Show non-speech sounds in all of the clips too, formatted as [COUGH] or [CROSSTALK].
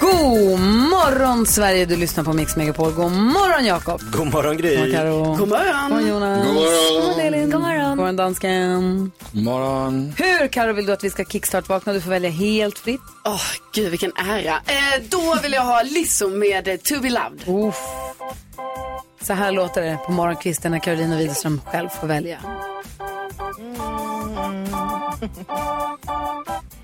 God morgon Sverige, du lyssnar på Mix Megapol. God morgon Jakob. God morgon Gry. God morgon Karo. God morgon Jonas. God morgon, God morgon Elin. God morgon. God morgon dansken. morgon. Hur Karo vill du att vi ska kickstart-vakna? Du får välja helt fritt. Åh, gud vilken ära. Eh, då vill jag ha Lizzo med eh, To Be Loved. Uff. Så här låter det på morgonkvisten när Karolina Widerström själv får välja. Mm. [LAUGHS]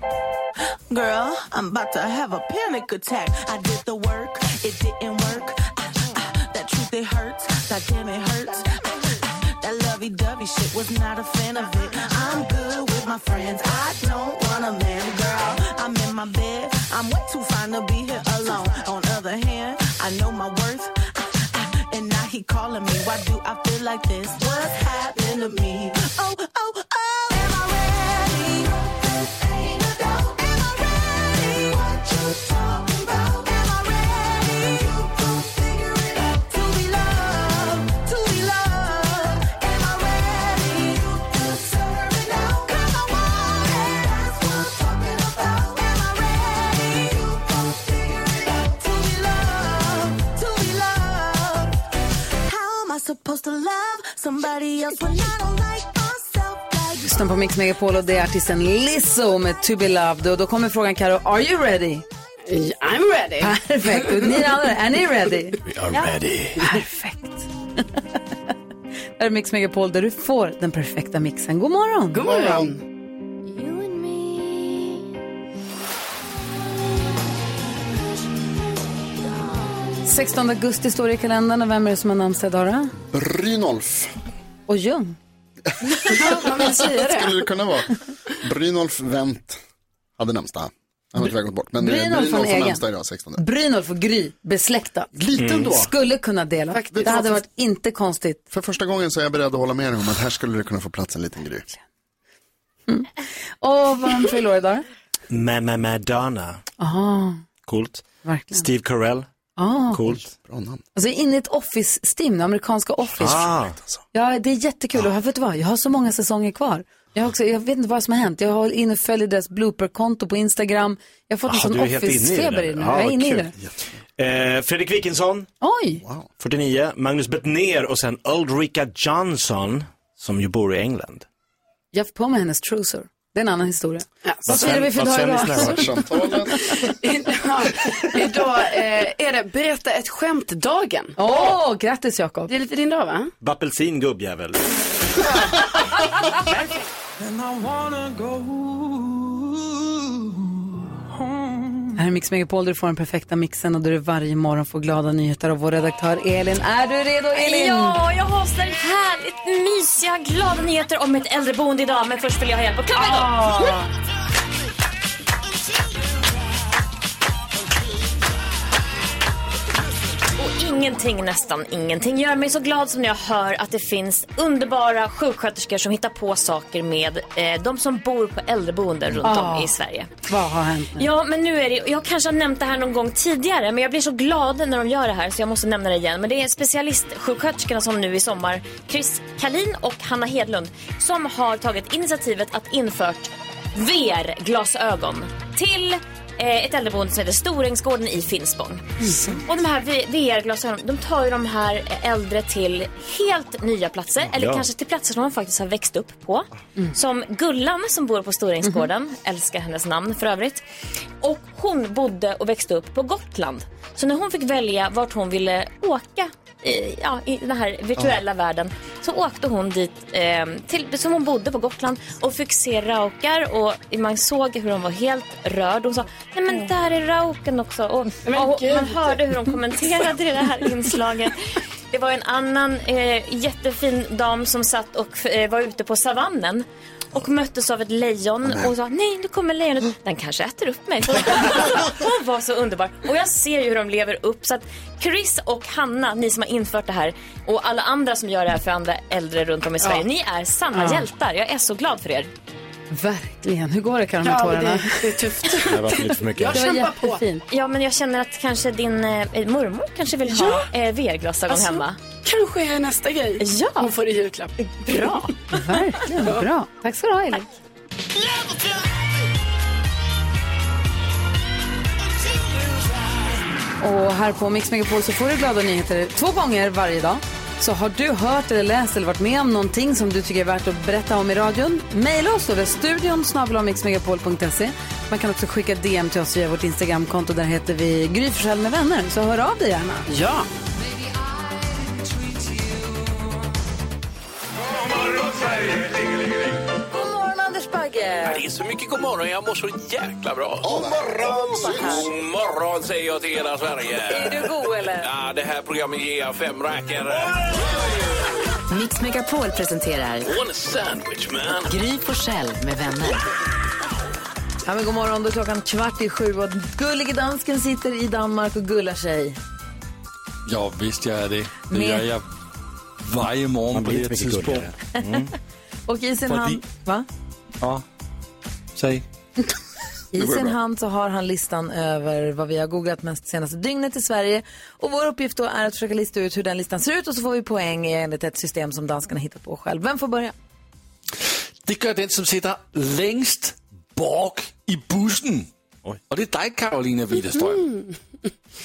Girl, I'm about to have a panic attack. I did the work, it didn't work. Ah, ah, that truth, it hurts. God damn, it hurts. Ah, ah, that lovey dovey shit was not a fan of it. I'm good with my friends. I don't want a man, girl. I'm in my bed. I'm way too fine to be here alone. On other hand, I know my worth. Ah, ah, and now he calling me. Why do I feel like this? What's happened to me? Oh, oh, oh. Am I ready? Supposed to love somebody else when I don't like myself like Lyssnar på Mix Megapol och det är artisten Lizzo med To Be Loved. Och då kommer frågan Karo, are you ready? I'm ready. Perfekt. Och ni andra, är ni ready? We are ready. Perfekt. Det är Mix Megapol där du får den perfekta mixen. God morgon! God morgon. morgon. 16 augusti står det i kalendern och vem är det som har namnsdag idag då? Brynolf. Och Ljung. Skulle det [LAUGHS] kunna vara. Brynolf Wendt hade namnsdag. Han har tyvärr gått bort. Men eh, Brynolf Brynolf har en har egen. namnsdag idag, 16. Brynolf och Gry, besläktat. Lite ändå. Skulle kunna dela. Faktiskt. Det hade varit inte konstigt. För första gången så är jag beredd att hålla med dig om att här skulle det kunna få plats en liten Gry. Och vem fyller år idag? Ma- ma- Madonna. Aha, Coolt. verkligen. Steve Carell. Ah. Coolt. Bra namn. Alltså inne i ett office-stim, det amerikanska office. Ah. alltså? Ja, det är jättekul. Och jag vet du vad? Jag har så många säsonger kvar. Jag, har också, jag vet inte vad som har hänt. Jag har inne och följer deras blooper-konto på Instagram. Jag har fått en Ah, sån du är helt inne i det office-feber där. i det nu. Ja, jag är inne i kul. det. Eh, Fredrik Wikingsson, Oj! 49. Magnus Bettner och sen Ulrika Johnson, som ju bor i England. Jag får på mig hennes trosor. Det är en annan historia. Ja, Vad firar vi för vad dag sen idag? lyssnar Kvartsamtalet. Idag, [LAUGHS] idag eh, är det berätta ett skämt-dagen. Åh, grattis Jakob. Det är lite din dag va? Bappelsin gubbjävel. Här är Mix Megapol där du får den perfekta mixen och där du varje morgon får glada nyheter av vår redaktör Elin. Är du redo Elin? Ja, jag avslöjar härligt mysiga, glada nyheter om ett äldreboende idag. Men först vill jag ha hjälp av klockan igång. Ah. Och Ingenting, nästan ingenting gör mig så glad som när jag hör att det finns underbara sjuksköterskor som hittar på saker med eh, de som bor på äldreboenden runt om i Sverige. Vad har hänt nu? Ja, men nu är det, jag kanske har nämnt det här någon gång tidigare, men jag blir så glad när de gör det här så jag måste nämna det igen. Men det är specialistsjuksköterskorna som nu i sommar, Chris Kalin och Hanna Hedlund, som har tagit initiativet att infört VR-glasögon till eh, ett äldreboende som heter Storängsgården i Finspång. Och de här VR-glasögonen, de tar ju de här äldre till helt nya platser, eller Ja. kanske till platser som de faktiskt har växt upp på. Som Gullan som bor på Storängsgården, älskar hennes namn för övrigt. Och hon bodde och växte upp på Gotland. Så när hon fick välja vart hon ville åka i, ja, i den här virtuella världen så åkte hon dit eh, till, som hon bodde på Gotland och fick se raukar och man såg hur hon var helt rörd. Hon sa nej men där är rauken också och, och man hörde hur hon kommenterade det här inslaget. Det var en annan eh, jättefin dam som satt och eh, var ute på savannen och möttes av ett lejon och sa nej nu kommer lejonet, den kanske äter upp mig. Hon var så underbar och jag ser ju hur de lever upp så att Chris och Hanna, ni som har infört det här och alla andra som gör det här för andra äldre runt om i Sverige, ni är sanna Ja. hjältar. Jag är så glad för er. Verkligen. Hur går det Karin med Ja, tårarna? det- det är tufft. Det har varit lite för mycket. Det var jättefint. Ja, men jag känner att kanske din eh, mormor kanske vill ha eh, VR-glasögon Alltså, hemma. Kanske är nästa grej. Ja. Hon får i julklapp. Bra. Verkligen bra. Tack ska du ha Elin. Och här på Mix Megapol så får du glada nyheter två gånger varje dag. Så har du hört eller läst eller varit med om någonting som du tycker är värt att berätta om i radion, mejla oss då. Det är studion snabel-a mixmegapol.se. Man kan också skicka DM till oss via vårt Instagramkonto. Där heter vi Gry Forssell med vänner. Så hör av dig gärna. Ja. God morgon Anders Bagge! Det är så mycket god morgon, jag mår så jäkla bra. God morgon! God morgon säger jag till hela Sverige. Är du god eller? Ja, det här programmet ger jag fem rackare. Mix Megapol presenterar One sandwich man. Gry Forssell med vänner. Ja, men god morgon, då är klockan kvart i sju och gullige dansken sitter i Danmark och gullar sig. Ja, visst jag är det. Det Med- gör jag varje morgon Man på blir det inte här mycket Mm. tidspunkt. Mm. [LAUGHS] Och i sin Fordi- hand, va? [LAUGHS] Ja, säg. I Det går sin bra. hand så har han listan över vad vi har googlat mest senaste dygnet i Sverige. Och vår uppgift då är att försöka lista ut hur den listan ser ut och så får vi poäng enligt ett system som danskarna hittat på själv. Vem får börja? Det gör den som sitter längst bak i bussen. Och det är dig, Karolina Widerström. Mm.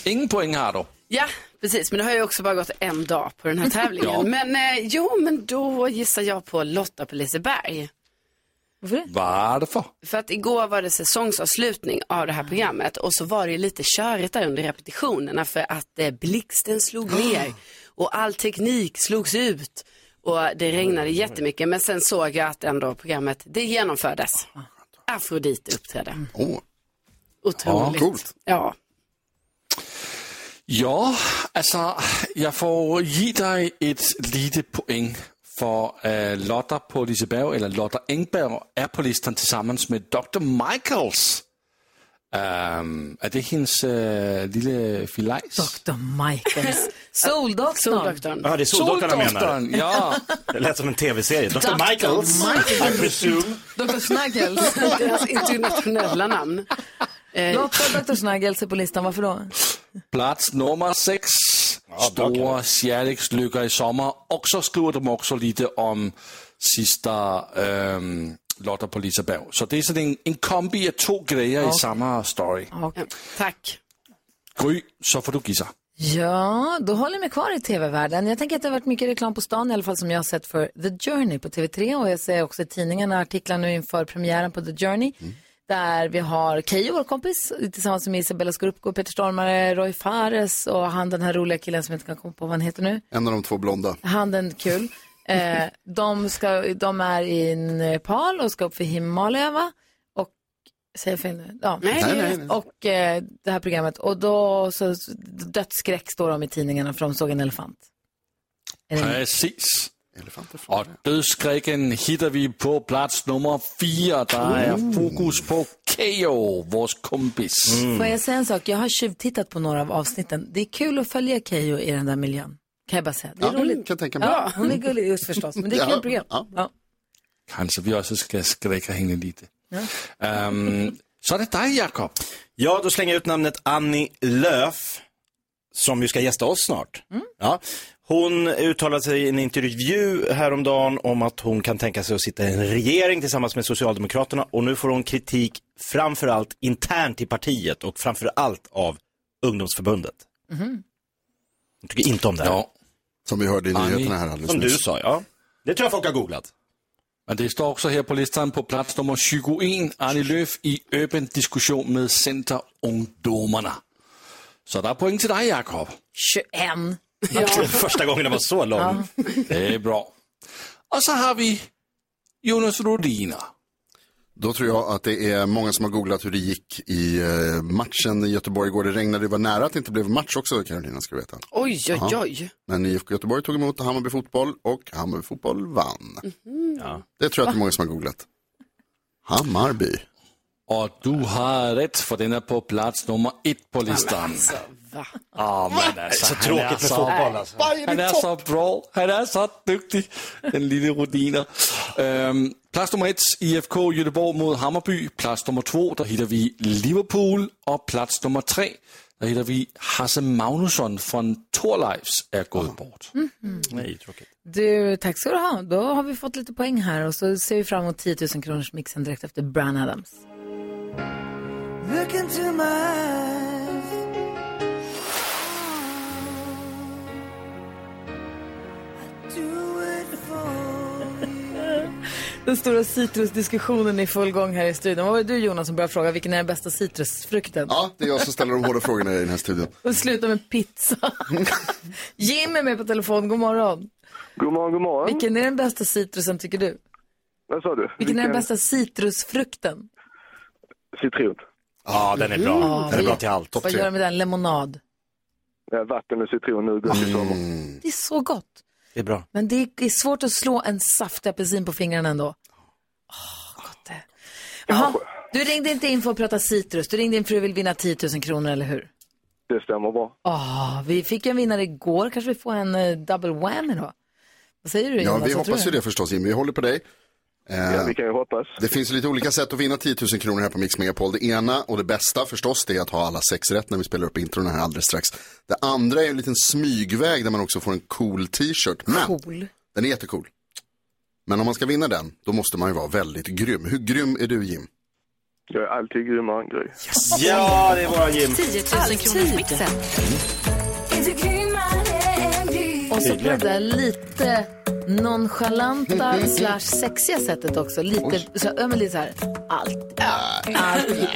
Ingen poäng har du. Ja, precis. Men det har ju också bara gått en dag på den [LAUGHS] här tävlingen. Ja. Men eh, jo, men då gissar jag på Lotta på Liseberg. Varför det? Varför? För att igår var det säsongsavslutning av det här programmet och så var det ju lite körigt där under repetitionerna för att eh, blixten slog [GASPS] ner och all teknik slogs ut och det regnade jättemycket men sen såg jag att ändå programmet, det genomfördes. Ah, Afrodite uppträdde. Mm. Otroligt. Ja, coolt. Ja. Ja, altså, jeg får give dig et lille point, for øh, Lotter på Liseberg, eller Lotter Engberg, er på listen sammen med Dr. Michaels. Øhm, er det hendes øh, lille filajs? Dr. Michaels. Soldoktorn. Soldoktorn. Ja, det är Soldoktorn han menar. Soldoktorn, ja. [LAUGHS] Det lät som en tv-serie. Dr. Dr. Michaels, Michaels. I presume. Dr. Snaggels. [LAUGHS] Deras internationella namn. Lotta Dr. Snaggels är på listan, varför då? Plats nummer 6. Store kärlekslykker i sommer. Och så skriver de också lite om sista øhm, Lotter på Liseberg. Så det är sådan en, en kombi av två grejer i samma story. Tack. Gry, så får du gissa. Ja, då håller jag mig kvar i tv-världen. Jag tänker att det har varit mycket reklam på stan i alla fall som jag har sett för The Journey på TV3 och jag ser också i tidningarna artiklar nu inför premiären på The Journey. Där vi har Keyyo, vår kompis, tillsammans med Isabella Scorupco, Peter Stormare, Roy Fares och han den här roliga killen som jag inte kan komma på vad han heter nu. En av de två blonda. Handen kul. Eh, de, ska, de är i Nepal och ska upp för Himalaya va? Och, säger jag fel nu? Ja. Nej, nej, nej, nej. Och eh, det här programmet. Och då, så dödsskräck står de i tidningarna för de såg en elefant. Precis. Och dödsskräcken hittar vi på plats nummer fyra. Där är fokus på Keyyo, vår kompis. Får jag säga en sak? Jag har tjuvtittat på några av avsnitten. Det är kul att följa Keyyo i den där miljön. Kan jag bara säga. Det är Ja, roligt. kan jag tänka mig. Ja, hon är gullig just förstås. Men det är ett Ja, kul program. Ja. Kanske Alltså, vi också ska skräcka henne lite. Ja. Ehm, så är det dig, Jakob. Ja, då slänger jag ut namnet Annie Lööf, som ju ska gästa oss snart. Mm. Ja. Hon uttalade sig i en intervju häromdagen om att hon kan tänka sig att sitta i en regering tillsammans med Socialdemokraterna och nu får hon kritik framförallt internt i partiet och framförallt av ungdomsförbundet. Mhm. Hon tycker inte om det här. Ja. Som vi hörde i Annie. nyheterna här alldeles Som du nyss. sa, ja. Det tror jag folk har googlat. Men det står också här på listan på plats nummer 21, Annie Lööf i öppen diskussion med Centerungdomarna. Så där är poäng till dig, Jakob. 21. [LAUGHS] Första gången det var så lång. Det är bra. Och så har vi Jonas Rodina. Då tror jag att det är många som har googlat hur det gick i eh, matchen i Göteborg igår. Det regnade, det var nära att det inte blev match också, Carolina ska veta. Oj, oj, Ja. oj. Men IFK Göteborg tog emot Hammarby fotboll och Hammarby fotboll vann. Mm. Det tror jag att det är många som har googlat. Hammarby. Och du har rätt, för den är på plats nummer ett på listan. va? Ja, men alltså, Så han tråkigt är med så- fotboll, alltså. Bayern Han i är topp. så bra, han är så duktig, den lille rutiner. Ehm, plats nummer ett, IFK Göteborg mot Hammarby. Plats nummer två, där hittar vi Liverpool. Och plats nummer tre, där hittar vi Hasse Magnusson från Torleifs är gått bort. Mm. Nej, tråkigt. Du, tack ska du ha. Då har vi fått lite poäng här och så ser vi fram emot 10 000 kronors mixen direkt efter Brian Adams. Look into my eyes. I do it for you. Den stora citrusdiskussionen är i full gång här i studion. Vad var det du Jonas som började fråga vilken är den bästa citrusfrukten? Ja, det är jag som ställer de hårda frågorna i den här studion. [LAUGHS] Och sluta med [LAUGHS] pizza. Jim är med på telefon, god morgon. God morgon, god morgon. Vilken är den bästa citrusen tycker du? Vilken, Vad sa du? är den bästa citrusfrukten? Citron. Ja, den är bra. Ja, Den är bra till allt. Mm. Vad gör du med den? Lemonad. Vatten och citron nu, gott i sommar. Det är så gott. Det är bra. Men Mm. det är svårt att slå en saftig apelsin på fingrarna ändå. Åh, gott det. Jaha, du ringde inte in för att prata citrus. Du ringde in för att du vill vinna 10 000 kronor, eller hur? Det stämmer bra. Åh, vi fick ju en vinnare igår. Kanske vi får en eh, double whammy då? Vad säger du Ja, Jonas? vi Vad tror hoppas ju du? det förstås, Jimmy. Vi håller på dig. Eh, Ja, vi kan ju hoppas. Det finns ju lite olika sätt att vinna 10 000 kronor här på Mix Megapol. Det ena och det bästa förstås det är att ha alla sex rätt när vi spelar upp intron här alldeles strax. Det andra är ju en liten smygväg där man också får en cool t-shirt. Men cool. den är jättecool. Men om man ska vinna den, då måste man ju vara väldigt grym. Hur grym är du Jim? Jag är alltid grymmare än Gry. Ja, det är våran Jim. 10 000 kronors mixen. Och så på det Tydligen. där lite [LAUGHS] nonchalanta slash sexiga sättet också. Lite så, ja, men lite så här, allt. Ja, allt.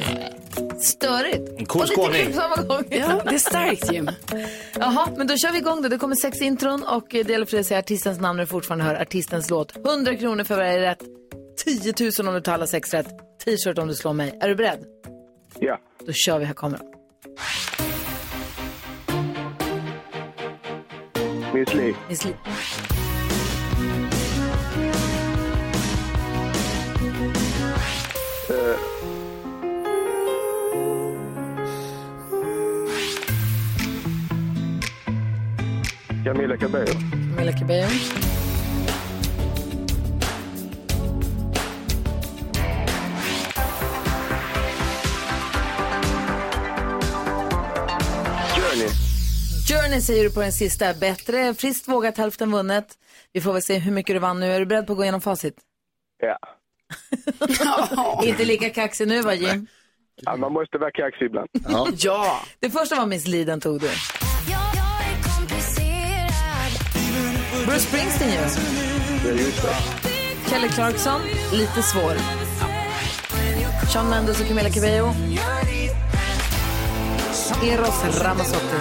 Störigt. En cool Och lite skåning. kul på samma gång. Ja, det är starkt, Jim. Jaha, men då kör vi igång då. Det kommer sex intron och eh, det gäller för dig att säga artistens namn när du fortfarande hör artistens låt. 100 kronor för varje rätt. 10 000 om du tar alla sex rätt. T-shirt om du slår mig. Är du beredd? Ja. Mm-hmm. Då kör vi. Här kommer den. Miss Li. Miss Li. Eh, Camilla Cabello. Camilla Cabello. Journey. Journey säger du på den sista. Bättre friskt vågat, hälften vunnet. Vi får väl se hur mycket du vann nu. Är du beredd på att gå [LAUGHS] igenom facit? Ja. Inte lika kaxig nu va, Jim? ja. Man måste vara kaxig ibland. Det första var Miss Li, den tog du. Bruce Springsteen ju. Det är just det. Kelly Clarkson, lite svår. Shawn Mendes och Camila Cabello. Eros Ramazzotti.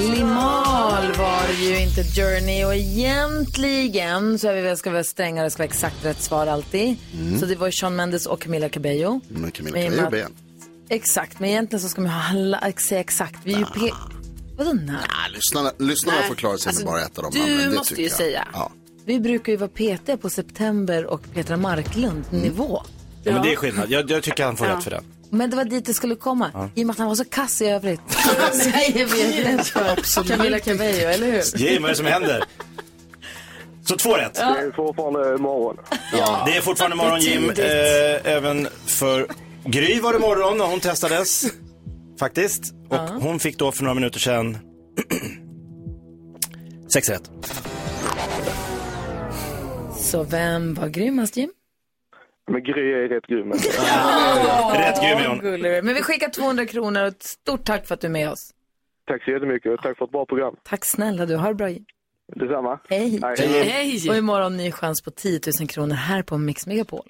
Limal var det ju inte Journey och egentligen så är vi väl, ska vi vara strängare, ska vara exakt rätt svar alltid. Mm. Så det var ju Shawn Mendes och Camila Cabello. Men Camilla Men i och kan med ju att- ben. Exakt, men egentligen så ska man ha alla, säga exakt. Vi är ju pe- Vadå nej? Lyssnarna, lyssnarna Nej, får klara sig alltså, med bara ett av dem. du måste ju säga. Ja. Vi brukar ju vara petiga på September och Petra Marklund-nivå. Mm. Ja, men det är skillnad. Jag, jag tycker han får Ja. rätt för den. Men det var dit det skulle komma, Ja. i och med att han var så kass i [LAUGHS] övrigt. [LAUGHS] Säger vi ett rätt för Camilla Cabello, eller hur? Jim, vad är det som händer? Så två rätt. Det är fortfarande morgon. Ja. Det är fortfarande morgon Jim. Det Eh, även för Gry var det morgon när hon testades. Faktiskt. Och hon fick då för några minuter sedan [CLEARS THROAT] sex rätt. Så vem var grymmast, Jim? Men Gry är rätt [LAUGHS] grym. Rätt grym är Åh, hon. gullig du är. Men vi skickar 200 kronor och ett stort tack för att du är med oss. Tack så jättemycket och tack för ett bra program. Tack snälla du, ha det bra Jim. Detsamma. Hej. Hej. Och imorgon ny chans på 10 000 kronor här på Mix Megapol.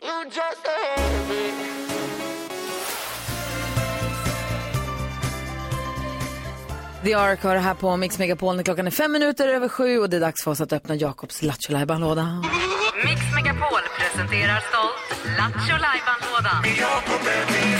The Ark har det här på Mix Megapol när klockan är fem minuter över sju och det är dags för oss att öppna Jakobs Lattjo Lajban-låda. Mix Megapol presenterar stolt Lattjo Lajban-lådan.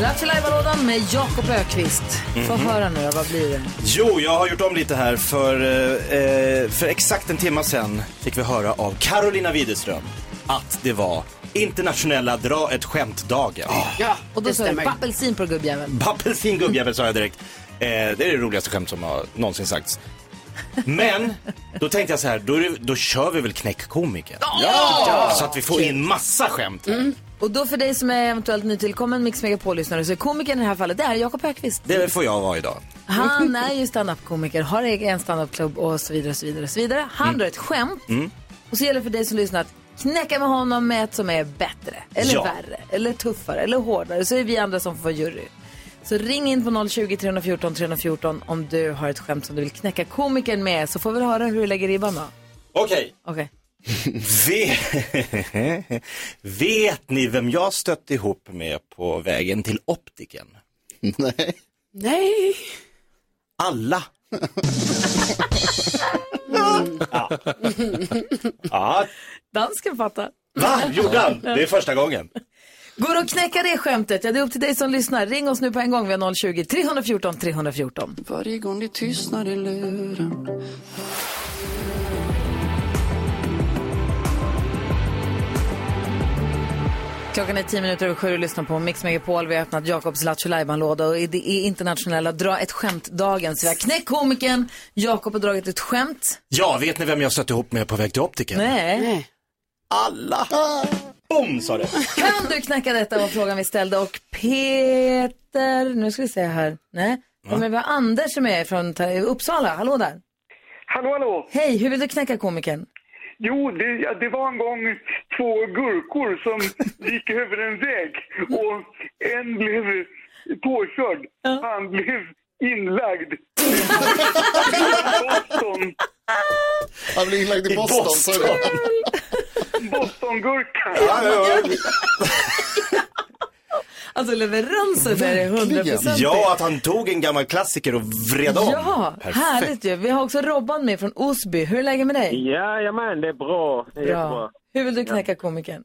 Lattjo Lajban-lådan med Jakob Ökvist. Få Mhm. höra nu då, vad blir det? Jo, jag har gjort om lite här för, eh, eh, för exakt en timma sedan fick vi höra av Carolina Widerström att det var internationella dra ett skämt-dagen. Ja, Och då sa jag apelsin på gubbjäveln. Bappelsin gubbjävel sa jag direkt. Eh, det är det roligaste skämt som har någonsin sagts. Men då tänkte jag så här, då, är det, då kör vi väl knäckkomiker. Ja! Så att vi får in massa skämt. Mm. Och då för dig som är eventuellt nytillkommen Mix Megapol-lyssnare så är komikern i det här fallet, det är Jakob Ökvist. Det får jag vara idag. Han är ju standup-komiker, har egen standup-klubb och så vidare, så vidare, så vidare. Han Mm. drar ett skämt och så gäller det för dig som lyssnar att knäcka med honom med ett som är bättre, eller Ja. värre, eller tuffare, eller hårdare. Så är vi andra som får jury. Så ring in på 020 314 314 om du har ett skämt som du vill knäcka komikern med så får vi höra hur du lägger ribban då. Okej. Okej. Ve- Vet ni vem jag stött ihop med på vägen till optiken? Nej. Nej. Alla. Ja. ja. Dansken fattar. Va? Gjorde han? Det är första gången. Går det att knäcka det skämtet? Ja, det är upp till dig som lyssnar. Ring oss nu på en gång. Vi har 020 314 314. Varje gång det tystnar i luren Klockan är tio minuter över sju och lyssnar på Mix Megapol. Vi har öppnat Jakobs Lattjo låda och det är internationella dra ett skämt-dagen. Så vi har knäckt komikern. Jakob har dragit ett skämt. Ja, vet ni vem jag stött ihop med på väg till optiken? Nej. Alla. Boom sa det. Kan du knäcka detta var frågan vi ställde och Peter, nu ska vi se här. Nej, Va? men vi har Anders som är från Ta- Uppsala. Hallå där. Hallå, hallå. Hej, hur vill du knäcka komikern? Jo, det, ja, det var en gång två gurkor [LAUGHS] som gick över en väg och en blev påkörd. Han blev inlagd. Boston. Han blev inlagd i I Boston. Boston. sa du? Bostongurka. Alltså leveransen där är hundraprocentig. Ja, att han tog en gammal klassiker och vred om. Ja, Perfekt. härligt ju. Vi har också Robban med från Osby. Hur är läget med dig? Jajamän, det är bra. Det är jättebra. Hur vill du knäcka komikern?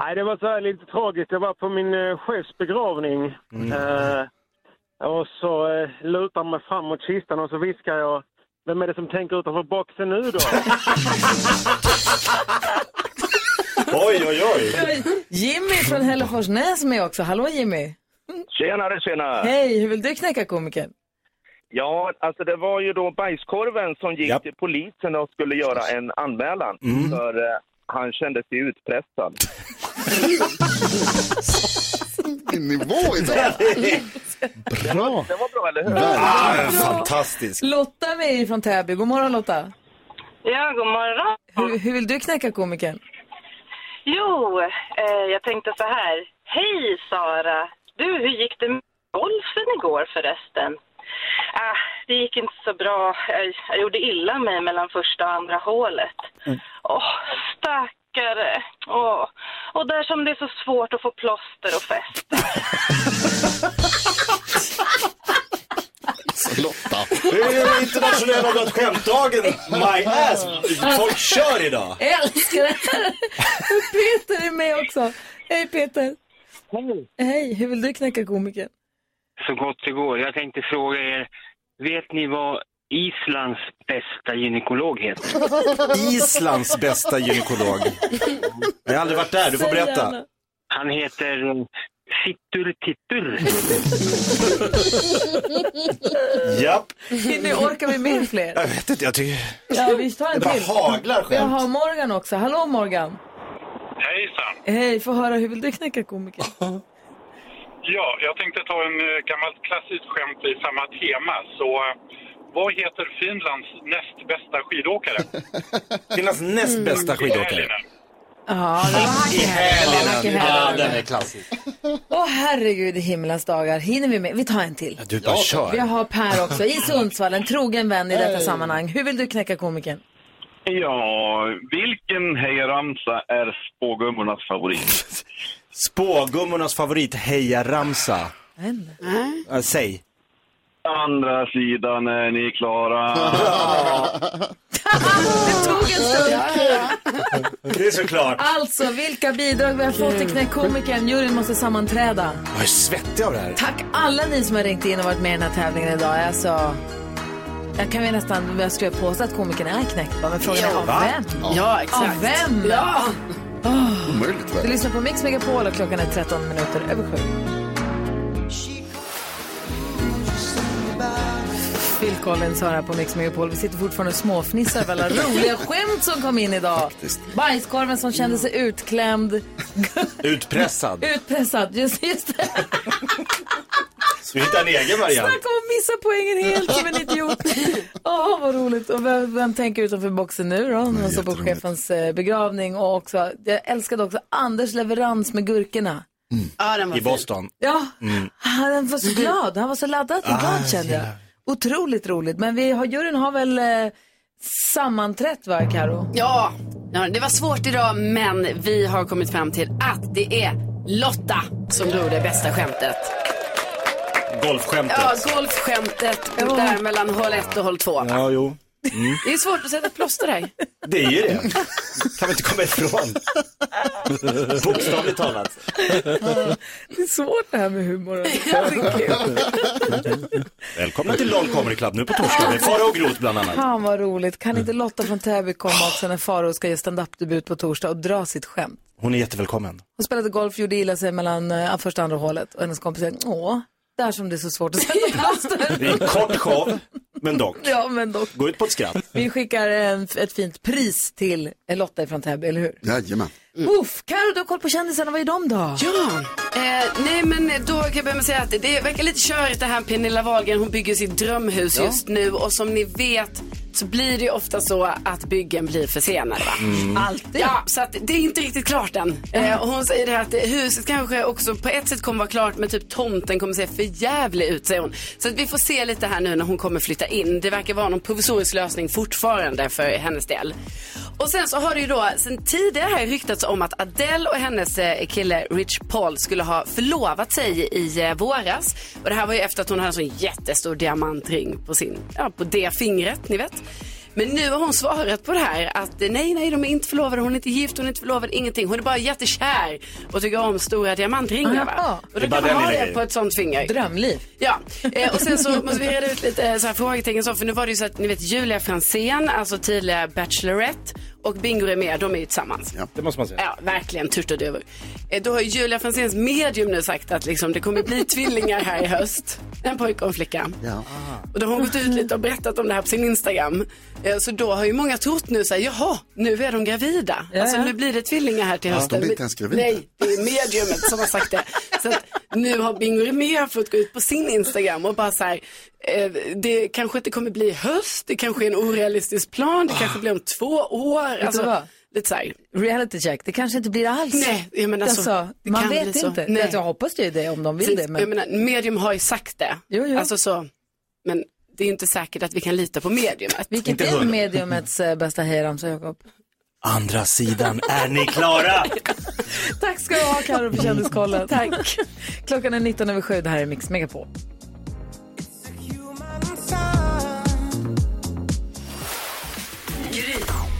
Nej, det var så här lite tragiskt. Jag var på min eh, chefs begravning. Eh, och så eh, lutar jag mig fram mot kistan och så viskar jag Vem är det som tänker utanför boxen nu [LAUGHS] då? oj, oj, Jimmy från Hälleforsnäs med också. Hallå Jimmy. Tjenare, tjena! Hej, hur vill du knäcka komikern? Ja, alltså det var ju då bajskorven som gick till polisen och skulle göra en anmälan. För eh, han kände sig utpressad. Nivå idag. Bra. Det var bra, eller hur? Ah, fantastiskt. Lotta med från Täby. God morgon Lotta. Ja, god morgon. Hur, hur vill du knäcka komikern? Jo, eh, jag tänkte så här. Hej Sara! Du, hur gick det med golfen igår förresten? Ah, det gick inte så bra. Jag, jag gjorde illa mig mellan första och andra hålet. Åh, stackare! Åh. Och där som det är så svårt att få plåster och fäste. Lotta. Det är den internationella död skämt-dagen. My ass. Folk kör idag. Jag älskar det här. Peter är med också. Hej Peter. Hej. Hej, hur vill du knäcka komikern? så gott det går. Jag tänkte fråga er, vet ni vad Islands bästa gynekolog [LAUGHS] heter? Islands bästa gynekolog. Jag har aldrig varit där, du får berätta. Han heter eh, Fittur Tittur. Japp. Nu orkar vi med fler. Jag vet inte, jag tycker... Ja, vi tar en Det bara till. haglar skämt. Vi har Morgan också. Hallå Morgan. Hejsan! Hej, få höra hur vill du [LAUGHS] knäcka komikern? Ja, jag tänkte ta en eh, gammalt klassiskt skämt i samma tema. Så eh, vad heter Finlands näst bästa [LAUGHS] skidåkare? Finlands näst bästa skidåkare. Ja, det var hack i Helena, ja hälen. den är klassisk. Åh herregud i himlens dagar. Hinner vi med? Vi tar en till. Du bara kör. Vi har Per [LAUGHS] också i Sundsvall, en trogen vän i detta sammanhang. Hur vill du knäcka komikern? Ja, vilken hejramsa är spågummornas favorit? Spågummornas favorit hejaramsa. Ja, Eh, Säg. Andra sidan är ni klara. [LAUGHS] Det är såklart. Alltså, vilka bidrag vi har fått i Knäck komikern. Juryn måste sammanträda. Jag är svettig av det här. Tack alla ni som har ringt in och varit med i den här tävlingen idag. Alltså, jag kan väl nästan, jag skulle påstå att komikern är knäckt va? men frågan är Ja, av va? vem? Ja, exakt. Av vem? Ja. Åh. Omöjligt Du väl? lyssnar på Mix Megapol och klockan är 13 minuter över sju. Phil Collins har här på Mix Megapol. Vi sitter fortfarande och småfnissar över [LAUGHS] alla roliga skämt som kom in idag. Bajskorven som kände sig utklämd, Utpressad. utpressad. Just, just det. Så vi hittar en egen variant. Snacka om att missa poängen helt som en idiot. Åh, vad roligt. Och vem, vem tänker utanför boxen nu då? Någon som på chefens eh, begravning och också, jag älskade också Anders leverans med gurkorna. Ja, den var Mm. I fin. Boston. Ja, Mm. han var så glad. Han var så laddad och glad Ah, kände jag. ja. Otroligt roligt. Men vi har, juryn har väl eh, sammanträtt va, Karo? Ja, ja, det var svårt idag men vi har kommit fram till att det är Lotta som drog det bästa skämtet. Golfskämtet. Ja, golfskämtet där mellan hål 1 och hål 2. Ja, jo. Mm. Det är svårt att sätta plåster här. Det är ju det. Kan vi inte komma ifrån. Bokstavligt talat. Det är svårt det här med humor. Välkomna till LOL Comedy Club nu på torsdag med Farao och Groth bland annat. Mm. Fan vad roligt. Kan inte Lotta från Täby komma också när Faro ska göra stand-up-debut på torsdag och dra sitt skämt? Hon är jättevälkommen. Hon spelade golf, gjorde illa sig mellan eh, första och andra hålet och hennes kompis säger, åh, där som det är så svårt att sätta plåster. Det är en kort show, men dock. Ja, men dock. Gå ut på ett skratt. Vi skickar en, ett fint pris till Lotta från Täby, eller hur? Jajamän. Uff, Karo, du har koll på kändisarna. Vad är de då? Ja. Eh, nej men då kan jag börja med att säga att det, det verkar lite körigt det här Pernilla Wahlgren. Hon bygger sitt drömhus Ja. just nu och som ni vet så blir det ju ofta så att byggen blir försenade. Va? Mm. Alltid. Ja, så att det är inte riktigt klart än. Eh, och hon säger det här att huset kanske också på ett sätt kommer vara klart men typ tomten kommer se för jävlig ut säger hon. Så att vi får se lite här nu när hon kommer flytta in. Det verkar vara någon provisorisk lösning fortfarande för hennes del. Och sen så har det ju då sen tidigare här ryktats om att Adele och hennes eh, kille Rich Paul skulle ha förlovat sig i eh, våras. Och det här var ju efter att hon hade en sån jättestor diamantring på sin, ja på det fingret, ni vet. Men nu har hon svarat på det här att eh, nej, nej, de är inte förlovade, hon är inte gift, hon är inte förlovad, ingenting. Hon är bara jättekär och tycker om stora diamantringar. Jaha. Va? Och Det är då bara kan man den ha lilla det grejen. på ett sånt finger. Drömliv. Ja, eh, och sen så måste vi reda ut lite eh, så här frågetecken så, för nu var det ju så att ni vet Julia Franzén, alltså tidigare Bachelorette och Bingo Rimér, de är ju tillsammans. Det måste man säga. Ja, verkligen turturduvor. Eh, Då har ju Julia Franzéns medium nu sagt att liksom, det kommer bli tvillingar här i höst. En pojke och en flicka. Ja. Och då har hon gått ut lite och berättat om det här på sin Instagram. Eh, Så då har ju många trott nu så här, jaha, nu är de gravida. Ja, Alltså ja. nu blir det tvillingar här till Ja, hösten. de blir inte ens gravida. Nej, det är mediumet som har sagt det. Så att nu har Bingo Rimér fått gå ut på sin Instagram och bara så här, eh, det kanske inte kommer bli i höst, det kanske är en orealistisk plan, det kanske blir om två år. Alltså, du vad? lite så här. Reality check, det kanske inte blir alls. Nej, jag menar så. Det man kan vet bli så. inte. Nej. Nej. Jag hoppas det ju det om de vill Precis. det. Men... Jag menar, mm. medium har ju sagt det. Alltså så, men det är ju inte säkert att vi kan lita på mediumet. Vilket är mediumets eh, bästa hejramsa, Jakob? Andra sidan, är ni klara? Tack ska du ha, Karo, för kändiskollen. Mm. [LAUGHS] Tack. Klockan är 19 över sju. Det här är Mix Megapol.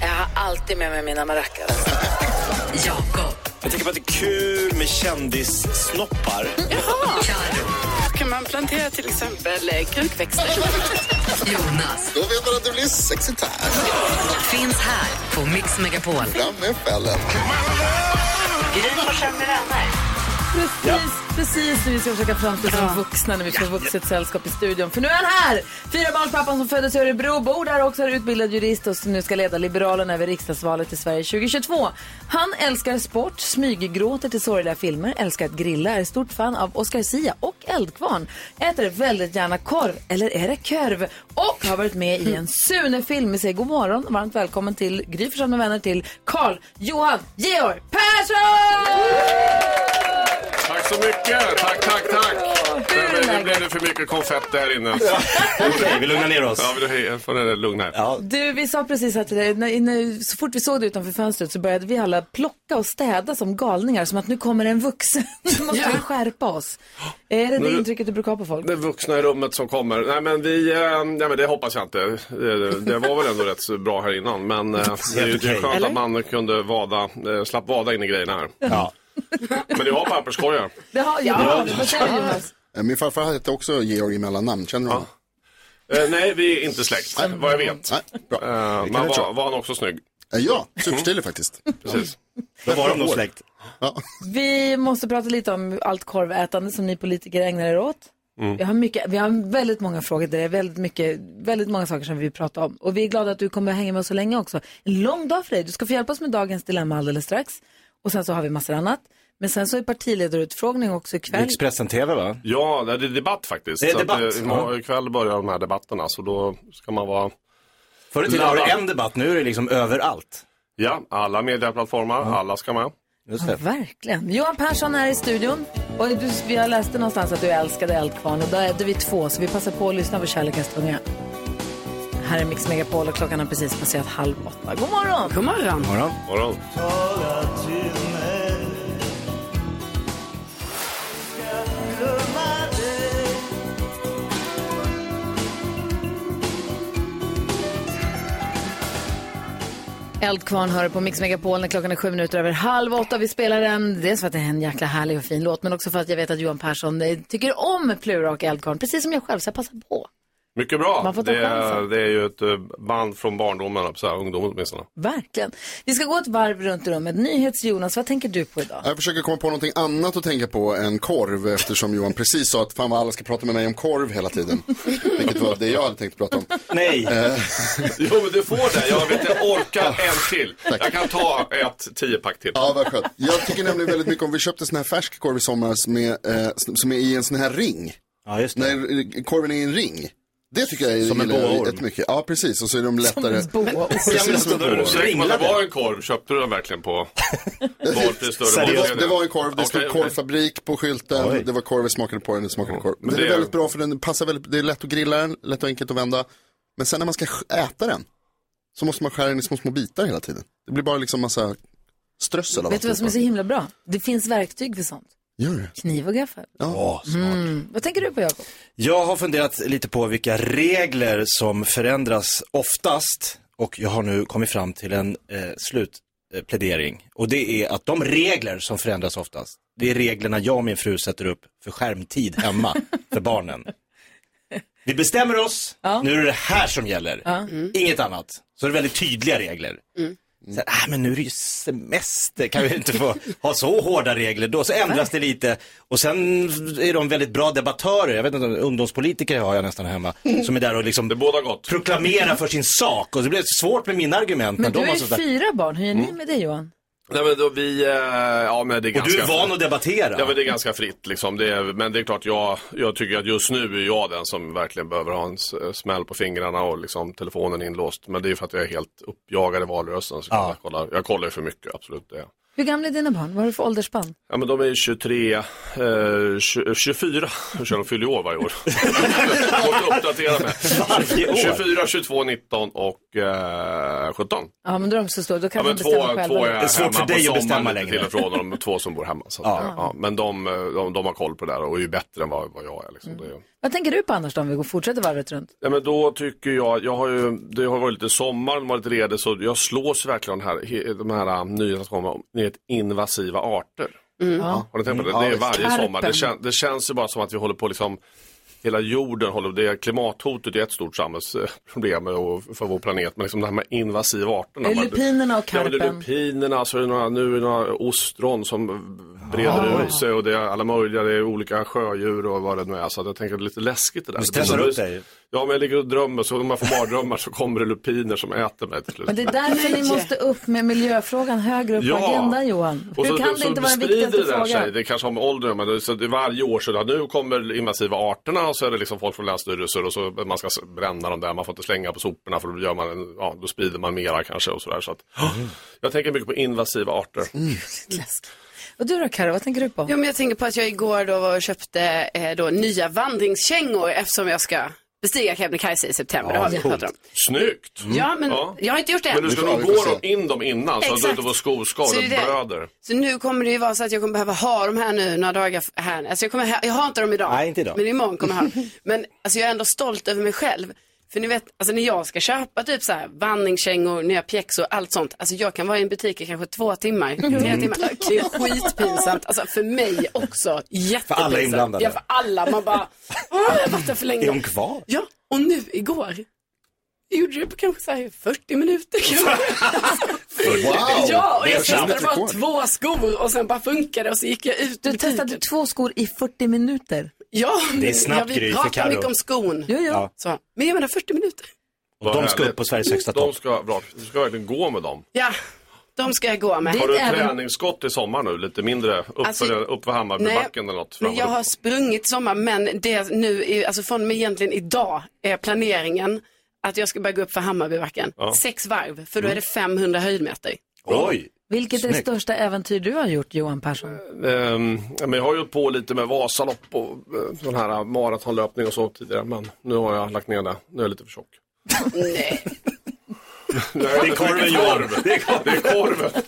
Jag har alltid med mig mina maracas. Jakob. Jag tänker på att det är kul med kändissnoppar. Jaha! Kan man plantera till exempel eh, krukväxter? Jonas. Då vet man att det blir sexigt här. Finns här på Mix Megapol. Fram med fällen. Precis, precis när vi ska försöka framstå som vuxna när vi får vuxet sällskap i studion. För nu är han här! Fyrabarnspappan som föddes i Örebro, bor där också, är utbildad jurist och som nu ska leda Liberalerna över riksdagsvalet i Sverige 2022. Han älskar sport, smyggråter till sorgliga filmer, älskar att grilla, är stort fan av Oscar Sia och Eldkvarn. Äter väldigt gärna korv, eller är det körv? Och har varit med i en Sune-film. Vi säger god morgon och varmt välkommen till Gry Forssell med vänner till Karl Johan Georg Persson! Tack så mycket! Tack, tack, tack! Hur nu, nu läget? blev det för mycket konfett [LAUGHS] där inne. Okej, vi lugnar ner oss. Ja, vi hej, får det lugna här. Du, vi sa precis att det, när, när, så fort vi såg det utanför fönstret så började vi alla plocka och städa som galningar, som att nu kommer en vuxen. [LAUGHS] Nu måste vi skärpa oss. Är det Nu- det intrycket du brukar ha på folk? Det vuxna i rummet som kommer. Nej men vi, eh, nej men det hoppas jag inte. Det, det var väl ändå rätt så bra här innan. Men eh, det är ju Okej. skönt Eller? att man kunde vada, eh, slapp vada in i grejerna här. Ja. Men du har papperskorgar? Det har jag. Ja. Vad säger du, Jonas? Eh, Min farfar hette också Georg i mellannamn, känner du honom? Eh, nej, vi är inte släkt, vad jag vet. bra. Eh, Det kan men jag var, tro. var han också snygg? Mm. Eh, Ja, superstilig faktiskt. Precis. Då var de nog släkt. Ja. Vi måste prata lite om allt korvätande som ni politiker ägnar er åt. Vi, har mycket, vi har väldigt många frågor där det är väldigt, mycket, väldigt många saker som vi vill prata om. Och vi är glada att du kommer att hänga med oss så länge också. En lång dag för dig. Du ska få hjälpa oss med dagens dilemma alldeles strax. Och sen så har vi massor annat. Men sen så är partiledarutfrågning också ikväll. Expressen TV va? Ja, det är debatt faktiskt. Det är Så att, debatt, eh, imorgon- ja. Ikväll börjar de här debatterna så då ska man vara... Förr i tiden var det laddad. en debatt, nu är det liksom överallt. Ja, alla medieplattformar, alla ska med. Just Ja, verkligen. Johan Persson är i studion. Och du, jag läste någonstans att du älskade Eldkvarn och då är vi två så vi passar på att lyssna på Kärlek Estonia. Här är Mix Megapol och klockan har precis passerat halv åtta. God morgon! God morgon! morgon. morgon. Eldkvarn hör på Mix Megapol när klockan är sju minuter över halv åtta. Vi spelar den dels för att det är en jäkla härlig och fin låt men också för att jag vet att Johan Persson eh, tycker om Plura och Eldkvarn precis som jag själv så jag passar på. Mycket bra. Man får ta det, är, chansen. det är ju ett eh, band från barndomen, eller så här, ungdomen åtminstone. Verkligen. Vi ska gå ett varv runt rummet. NyhetsJonas, vad tänker du på idag? Jag försöker komma på någonting annat att tänka på än korv eftersom Johan precis sa att fan vad alla ska prata med mig om korv [LAUGHS] hela tiden. Vilket var det jag hade tänkt prata om. Eh, Nej. [LAUGHS] Jo, men du får det. Jag vet inte, orkar en till. Jag kan ta ett tiopack till. Ja, vad skönt. Jag tycker nämligen väldigt mycket om, vi köpte sån här färsk korv i somras med, eh, som är i en sån här ring. Ja, just När eh, korven är i en ring. Det tycker jag Som en gillar jag boaorm. jättemycket. Ja, precis. Och så är de lättare. Precis som en boa. Säker på att det Ringlade. var en korv? Köpte du den verkligen på [LAUGHS] valfri större Det var, valkedja? det var en korv, det stod Okej, okej. korvfabrik på skylten, Oj. det var korv, vi smakade på den, det smakade korv. Men Men den det är är- väldigt bra för den passar väldigt, det är lätt att grilla den, lätt och enkelt att vända. Men sen när man ska sk- äta den så måste man skära den i små, små bitar hela tiden. Det blir bara liksom massa strössel av Vet du vad som är så himla bra? Det finns verktyg för sånt. Gör det? Kniv och gaffel. Ja. Mm. Vad tänker du på Jakob? Jag har funderat lite på vilka regler som förändras oftast och jag har nu kommit fram till en eh, slutplädering. Och det är att de regler som förändras oftast, det är reglerna jag och min fru sätter upp för skärmtid hemma för barnen. Vi bestämmer oss, nu är det det här som gäller, inget annat. Så det är väldigt tydliga regler. Mm. Så här, ah, men nu är det ju semester, kan vi inte få ha så hårda regler då? Så ändras det lite och sen är de väldigt bra debattörer, jag vet inte, ungdomspolitiker har jag nästan hemma, som är där och liksom proklamerar för sin sak och det blir svårt med mina argument. Men när du de har har ju sånt där- fyra barn, hur är ni Mm. med det Johan? Nej men då vi, eh, ja men det är Och du ganska... är van att debattera. Ja men det är ganska fritt liksom. Det är, men det är klart jag, jag tycker att just nu är jag den som verkligen behöver ha en s- eh, smäll på fingrarna och liksom telefonen inlåst. Men det är ju för att jag är helt uppjagad i valrörelsen. Så jag, kollar, jag kollar ju för mycket, absolut. Det. Hur gamla är dina barn? Vad har du för åldersspann? Ja men de är 23, eh, tju- 24, Hur de fyller ju år varje [LAUGHS] år. Måste uppdatera mig. Varje år? 24, 22, 19 och eh, 17. Ja, men då är de så stora, då kan Ja, men de två, bestämma själva. två är Det är svårt hemma för dig på att sommaren bestämma lite längre. Till och från och de två som bor hemma. Så att, Ja. ja. Ja, men de, eh, de, de har koll på det där och är ju bättre än vad, vad jag är. Mm. Liksom. Det, Vad tänker du på annars då, om vi går fortsätter varvet runt? ja, men då tycker jag, jag har ju, det har varit lite sommar, de har varit redig, så jag slås verkligen av den här, he- de här äh, nyheterna som kommer om nyhet invasiva arter. Mm. Har ni tänkt på det? Mm, det är ja, varje visst. sommar. Det, kän, det känns ju bara som att vi håller på liksom Hela jorden håller, det är klimathotet är ett stort samhällsproblem och för vår planet, men liksom det här med invasiva arterna. Är det lupinerna och Ja, men det är karpen? lupinerna, så är det några, nu är det några ostron som breder Ah. ut sig och det är alla möjliga, det är olika sjödjur och vad det nu är. Så att jag tänker att det är lite läskigt det där. Du stressar Det blir- upp dig. Ja, men jag ligger och drömmer, så om man får mardrömmar så kommer det lupiner som äter mig till slut. [LAUGHS] Men det är därför ni måste upp med miljöfrågan högre upp på Ja. agendan, Johan. Hur Och så, kan så det inte vara den sprider viktigaste det där Sig. frågan? Det kanske har med åldern men det, så det, varje år så där, nu kommer invasiva arterna och så är det liksom folk från länsstyrelser och så man ska s- bränna dem där, man får inte slänga på soporna för då, gör man, en- ja, då sprider man mera kanske och sådär. Så att, Jag tänker mycket på invasiva arter. Och du då Karo, vad tänker du på? Jo, men jag tänker på att jag igår då var och köpte eh, då nya vandringskängor eftersom jag ska bestiga Kebnekaise i september. det har vi pratat om. Snyggt! Mm. Ja, men jag har inte gjort det Men än. du ska nog gå dem in dem innan så att du Exakt. inte får skoskav, Så det är det. bröder. Så nu kommer det ju vara så att jag kommer behöva ha de här nu några dagar f- här. Alltså jag, kommer ha, jag har inte dem idag. Nej, inte idag. Men imorgon kommer jag ha dem. [LAUGHS] Men alltså jag är ändå stolt över mig själv. För ni vet, alltså när jag ska köpa typ så här vandringskängor, nya pjäxor, allt sånt. Alltså jag kan vara i en butik i kanske två timmar, tre Mm. timmar. Det är skitpinsamt. Alltså för mig också. Jättepinsamt. inblandade. Ja, för alla. Man bara, åh, jag har varit där för länge. Är de kvar? Ja, och nu igår. Jag gjorde det på kanske så här 40 minuter Wow! ja, och Det är jag testade ett bara rekord. två skor och sen bara funkade och så gick jag ut. Du testade två skor i 40 minuter. Ja, Det är men snabbt, jag Gry, vill för prata Karo. mycket om skon. Jo, Ja. Så, men jag menar 40 minuter. Vad de ska härligt. upp på Sveriges högsta De topp. ska, bra, du ska verkligen gå med dem. Ja, de ska jag gå med. Har du träningsskott i sommar nu? Lite mindre upp, Alltså, för, upp för Hammarbybacken eller något? men jag framåt? har sprungit i sommar, men det är nu, är- alltså från och med egentligen idag är planeringen att jag ska börja gå upp för Hammarbybacken. Ja. Sex varv, för då är Mm. det 500 höjdmeter. Oj! Vilket är det Snyggt. största äventyr du har gjort, Johan Persson? Ehm, men jag har ju hållit på lite med Vasalopp och eh, sån här maratonlöpning och så tidigare. Men nu har jag lagt ner det. Nu är jag lite för tjock. [LAUGHS] Nej. det är korven, Johan. Det är korven. [LAUGHS]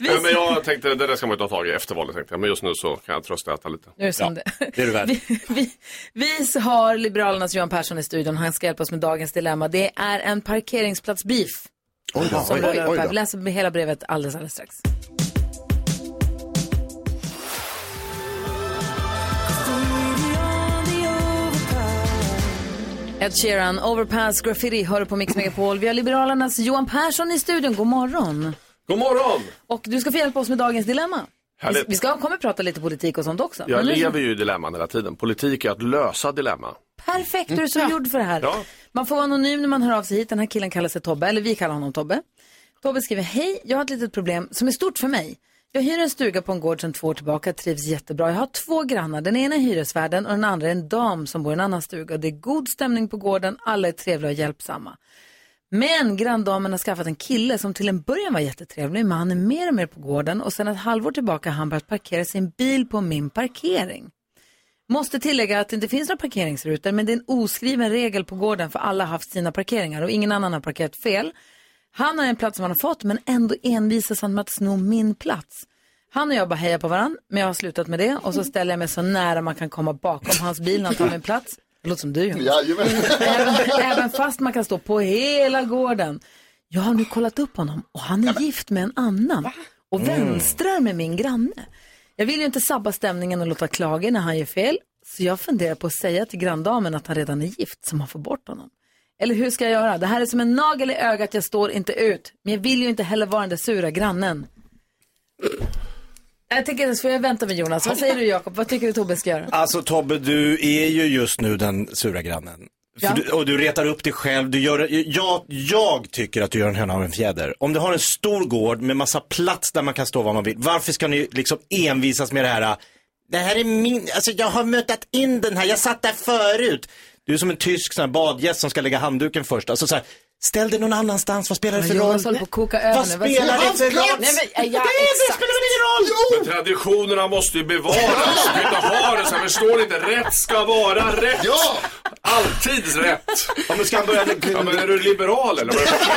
Nej, men jag tänkte, det där ska man ju ta tag i efter valet tänkte jag. Men just nu så kan jag trösta äta lite. Nu är det som det. är du [LAUGHS] värd. Vi har Liberalernas Johan Persson i studion. Han ska hjälpa oss med dagens dilemma. Det är en parkeringsplatsbeef. Oj då, Som oj, rullar oj, upp oj här. då. Vi läser hela brevet alldeles, alldeles strax. Ed Sheeran, Overpass, Graffiti, hör du på Mix Megapol. Vi har Liberalernas Johan Persson i studion. God morgon. God morgon! Och du ska få hjälpa oss med dagens dilemma. Vi, Härligt. vi ska, kommer prata lite politik och sånt också. Jag Men nu- lever ju i dilemman hela tiden. Politik är att lösa dilemma. Perfekt, du är så gjord för det här. Ja. Man får vara anonym när man hör av sig hit. Den här killen kallar sig Tobbe, eller vi kallar honom Tobbe. Tobbe skriver, hej, jag har ett litet problem som är stort för mig. Jag hyr en stuga på en gård sedan två år tillbaka, trivs jättebra. Jag har två grannar, den ena är hyresvärden och den andra är en dam som bor i en annan stuga. Det är god stämning på gården, alla är trevliga och hjälpsamma. Men granndamen har skaffat en kille som till en början var jättetrevlig, men han är mer och mer på gården och sedan ett halvår tillbaka har han börjat parkera sin bil på min parkering. Måste tillägga att det inte finns några parkeringsrutor, men det är en oskriven regel på gården för alla har haft sina parkeringar och ingen annan har parkerat fel. Han har en plats som han har fått, men ändå envisas han med att sno min plats. Han och jag bara hejar på varandra, men jag har slutat med det och så ställer jag mig så nära man kan komma bakom hans bil när han tar min plats. Det låter som du Jonas. Jajamän. även, även fast man kan stå på hela gården. Jag har nu kollat upp honom och han är gift med en annan och Mm. vänstrar med min granne. Jag vill ju inte sabba stämningen och låta klaga när han gör fel, så jag funderar på att säga till granndamen att han redan är gift så man får bort honom. Eller hur ska jag göra? Det här är som en nagel i ögat, jag står inte ut. Men jag vill ju inte heller vara den där sura grannen. Jag tänker, så får jag vänta med Jonas. Vad säger du Jakob? Vad tycker du Tobbe ska göra? Alltså Tobbe, du är ju just nu den sura grannen. För Ja. du, och du retar upp dig själv. Du gör, jag, jag tycker att du gör en höna av en fjäder. Om du har en stor gård med massa plats där man kan stå var man vill, varför ska ni liksom envisas med det här? Det här är min, alltså jag har mutat in den här, jag satt där förut. Du är som en tysk sån här badgäst som ska lägga handduken först. Alltså så här, ställ dig någon annanstans, vad spelar det för roll? Jonas håller på att koka över Vad nu. spelar det för roll? Nej, men, ja, Det- det exakt. spelar väl ingen roll? Men traditionerna måste ju bevaras. Vi inte ha det så här, förstår ni inte? Rätt ska vara rätt. Ja! Alltid rätt. Ja, men ska han börja... Ja, men är du liberal eller? Vad är det för-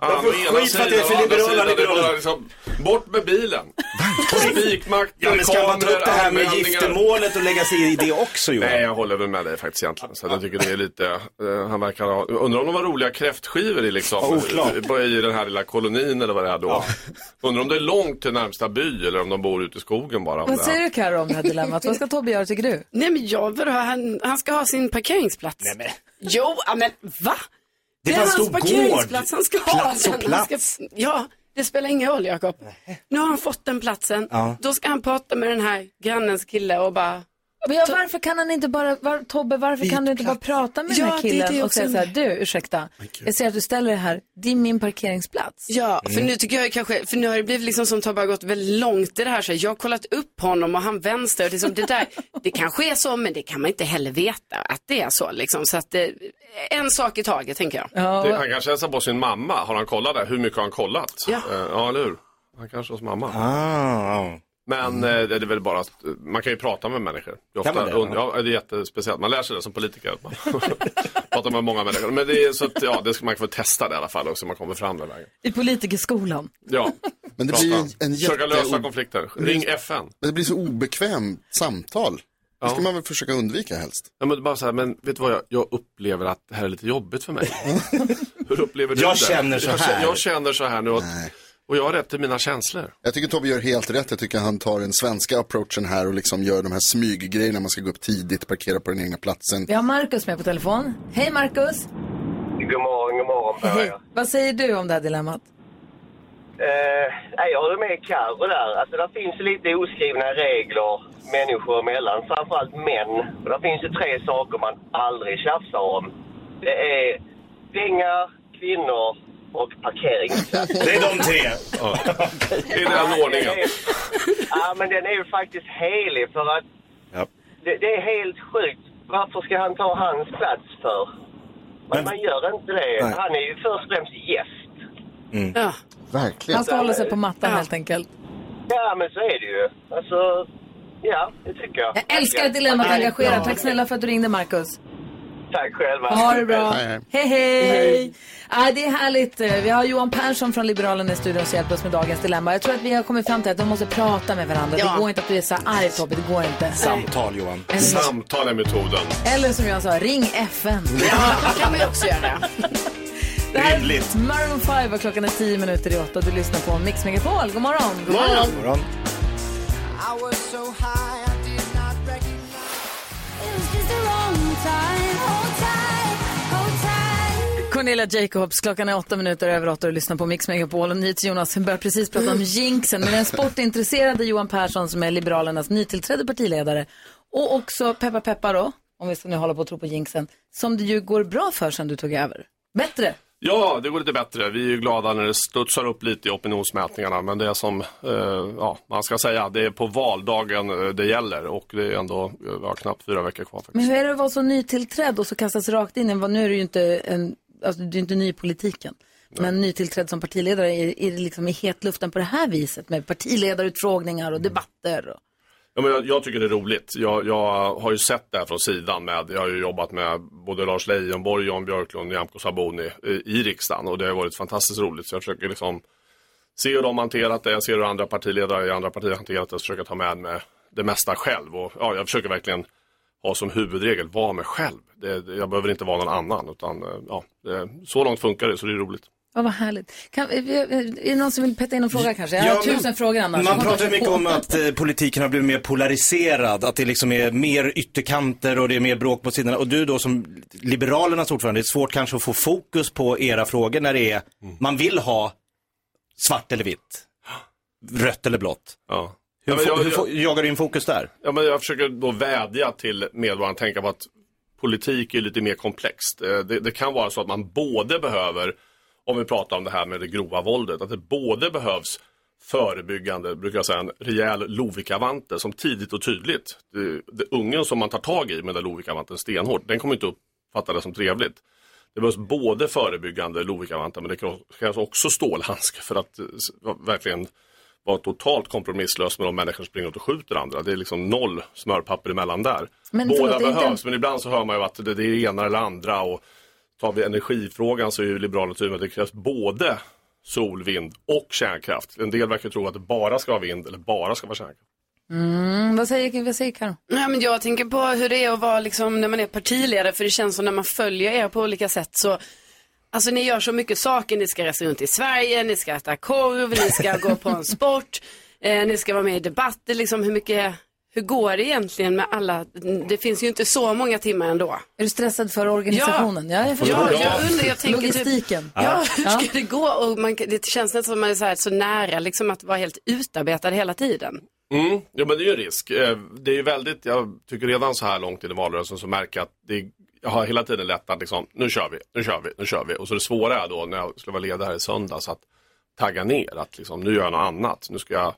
Ja, får å ena skit för att jag är för sidan, å andra liberal, sidan, det är liberal. bara liksom, Bort med bilen. Spikmakter, Ja, men ska man ta upp det här med användningar. giftermålet och lägga sig i det också Johan? Nej, jag håller väl med dig faktiskt egentligen. Så att jag tycker det är lite, eh, han verkar ha, undrar om de var roliga kräftskivor i liksom, Ja, oklart. i, i den här lilla kolonin eller vad det är då. Undrar om det är långt till närmsta by eller om de bor ute i skogen bara. om Vad det säger du Karo om det här dilemmat? Vad ska Tobbe göra tycker du? Nej men jag vill ha, han, han ska ha sin parkeringsplats. Nej, men. Jo, ja, men va? Det är bara en stor parkeringsplats, gård. han ska Plats och ha den. Han plats. ska, ja, det spelar ingen roll Jakob. Nu har han fått den platsen, Ja. då ska han prata med den här grannens kille och bara, Men ja, varför kan han inte bara, var, Tobbe, varför kan du inte bara prata med den Ja, här det- det är killen och också säga en- så här, du, ursäkta, jag ser att du ställer det här, det är min parkeringsplats. Ja, för Mm. nu tycker jag ju kanske, för nu har det blivit liksom som Tobbe har gått väldigt långt i det här. Så jag har kollat upp honom och han vänster. Och det, är som det, [LAUGHS] där, det kanske är så, men det kan man inte heller veta att det är så. Liksom. Så att, eh, en sak i taget, tänker jag. Det, han kanske hälsar på sin mamma. Har han kollat det? Hur mycket har han kollat? Ja, ja eller hur? Han kanske hos mamma. Ah. Men Mm. eh, det är väl bara, att, eh, man kan ju prata med människor. Det är, Kan ofta, man det? und- ja, det är jättespeciellt, man lär sig det som politiker. att Man [LAUGHS] pratar med många människor. Men det är så att, ja, det ska, man kan få testa det i alla fall och så man kommer fram den vägen. I politikerskolan. Ja, Men det blir ju en prata. Försöka jätte- lösa konflikter. Ring FN. Men det blir så obekvämt samtal. Det ska Ja. man väl försöka undvika helst. Ja, men bara så här, men vet du vad, jag, jag upplever att det här är lite jobbigt för mig. Hur upplever du Jag det? känner så Jag här. känner- Jag känner så här nu och, och jag har rätt till mina känslor. [LAUGHS] Jag tycker Tobbe gör helt rätt. Jag tycker han tar den svenska approachen här och liksom gör de här smyggrejerna. Man ska gå upp tidigt, parkera på den egna platsen. Vi har Markus med på telefon. Hej Markus, God morgon, god morgon på er. vad säger du om det här dilemmat? Eh, nej, jag håller med Carro där. Alltså, det finns ju lite oskrivna regler människor emellan, framförallt män. Och det finns ju tre saker man aldrig tjafsar om. Det är pengar, kvinnor och parkering. [LAUGHS] Det är de tre. I den ordningen. Ja, men den är ju faktiskt helig för att det, det är helt sjukt. Varför ska han ta hans plats för? Man, man gör inte det. Nej. Han är ju först och främst gäst. Verkligen. Han ska hålla sig på mattan helt enkelt. Ja, men så är det ju. Alltså, ja, det tycker jag. Jag älskar att dilemmat engagerar. Tack snälla för att du ringde Markus. Tack själva. Ha det bra. Hej, hej! Ah, det är härligt. Vi har Johan Persson från Liberalerna i studion som hjälper oss med dagens dilemma. Jag tror att vi har kommit fram till att de måste prata med varandra. Det går inte att du är så här arg Tobbe, det går inte. Samtal Johan. En- Samtal är metoden. Eller som jag sa, ring FN. Det kan man ju också göra. Det här är Rimligt. Maroon 5 och klockan är 10 minuter i 8 du lyssnar på Mix Megapol. God morgon! God morgon. Cornelia Jacobs, klockan är åtta minuter över åtta och du lyssnar på Mix Megapol. Och NyhetsJonas börjar precis prata om jinxen med den sportintresserade Johan Persson som är Liberalernas nytillträdde partiledare. Och också Peppa Peppa då, om vi ska nu hålla på att tro på jinxen, som det ju går bra för sedan du tog över. Bättre! Ja, det går lite bättre. Vi är ju glada när det studsar upp lite i opinionsmätningarna. Men det som eh, ja, man ska säga, det är på valdagen eh, det gäller. Och det är ändå eh, ja, knappt fyra veckor kvar. Men hur är det att vara så nytillträdd och så kastas rakt in i, vad- nu är du ju inte, en, alltså, du är ju inte ny i politiken. Men nytillträdd som partiledare, är, är det liksom i hetluften på det här viset med partiledarutfrågningar och debatter? Och... Ja, men jag, jag tycker det är roligt. Jag, jag har ju sett det här från sidan med, jag har ju jobbat med både Lars Leijonborg, Jan Björklund och Nyamko Sabuni i, i riksdagen och det har varit fantastiskt roligt. Så jag försöker liksom se hur de hanterat det, jag ser hur andra partiledare i andra partier hanterat det, så försöker jag ta med mig det mesta själv. Och, ja, jag försöker verkligen ha som huvudregel, vara mig själv. Det, det, jag behöver inte vara någon annan, utan eh, ja, det, så långt funkar det, så det är roligt. Ja, vad härligt. Kan, eh, är, är det någon som vill peta in en fråga kanske? Jag har Ja, men- tusen frågor annars. Man pratar ju mycket om att eh, politiken har blivit mer polariserad, att det liksom är mer ytterkanter och det är mer bråk på sidorna. Och du då som Liberalernas ordförande, det är svårt kanske att få fokus på era frågor när det är, Mm. man vill ha svart eller vitt, rött eller blått. Ja. Hur, Ja, men fo- jag- hur fo- jagar du in fokus där? Ja, men jag försöker då vädja till medborgarna att tänka på att politik är lite mer komplext. Eh, Det, det kan vara så att man både behöver, om vi pratar om det här med det grova våldet, att det både behövs förebyggande, brukar jag säga, en rejäl lovikavante som tidigt och tydligt, det, det ungen som man tar tag i med den där lovikavanten stenhårt, den kommer inte uppfatta det som trevligt. Det behövs både förebyggande lovikavante, men det krävs också stålhandskar för att eh, s- verkligen vara totalt kompromisslös med de människor som springer runt och skjuter andra. Det är liksom noll smörpapper emellan där. Men Båda förlåt, det är inte- behövs, men ibland så hör man ju att det, det är det ena eller andra. Och tar vi energifrågan så är ju Liberalerna tydliga med att det krävs både sol, vind och kärnkraft. En del verkar tro att det bara ska vara vind eller bara ska vara kärnkraft. Mm, vad säger, vad säger Karo? Nej, men jag tänker på hur det är att vara liksom, när man är partiledare, för det känns som när man följer er på olika sätt så Alltså ni gör så mycket saker, ni ska resa runt i Sverige, ni ska äta korv, ni ska gå på en sport, eh, ni ska vara med i debatter, liksom hur mycket, hur går det egentligen med alla, det finns ju inte så många timmar ändå. Är du stressad för organisationen? Ja, jag jag, förstår. jag undrar, jag tänker Logistiken. Typ, ja, hur ska det gå? Och man, kan- det känns nästan som att man är så, här, så nära liksom att vara helt utarbetad hela tiden. Mm, ja men det är ju en risk. Eh, Det är ju väldigt, jag tycker redan så här långt in i valrörelsen så märker jag att det är, jag har hela tiden lätt att liksom, nu kör vi, nu kör vi, nu kör vi. Och så det svåra är då när jag skulle vara ledare här i söndags att tagga ner, att liksom, nu gör jag något annat. Nu ska jag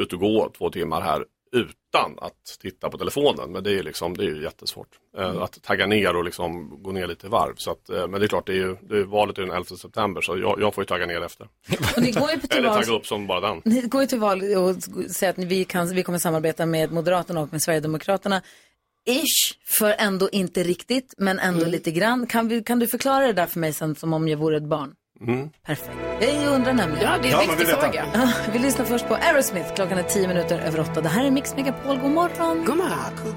ut och gå två timmar här utan att titta på telefonen. Men det är ju liksom, det är ju jättesvårt. Eh, Mm. Att tagga ner och liksom gå ner lite i varv. Så att, eh, men det är klart, det är ju, det är ju valet är den 11 september så jag, jag får ju tagga ner efter. Och ni går ju på till Eller val- tagga upp som bara den. Ni går ju till val och säger att vi, kan, vi kommer samarbeta med Moderaterna och med Sverigedemokraterna. Ish, för ändå inte riktigt, men ändå Mm. lite grann. Kan, vi, kan du förklara det där för mig sen som om jag vore ett barn? Mm. Perfekt. Jag undrar nämligen. Ja, det är en Ja, man viktig vill veta. fråga. Ja, Vi lyssnar först på Aerosmith. Klockan är tio minuter över åtta. Det här är Mix Megapol. God morgon. God morgon.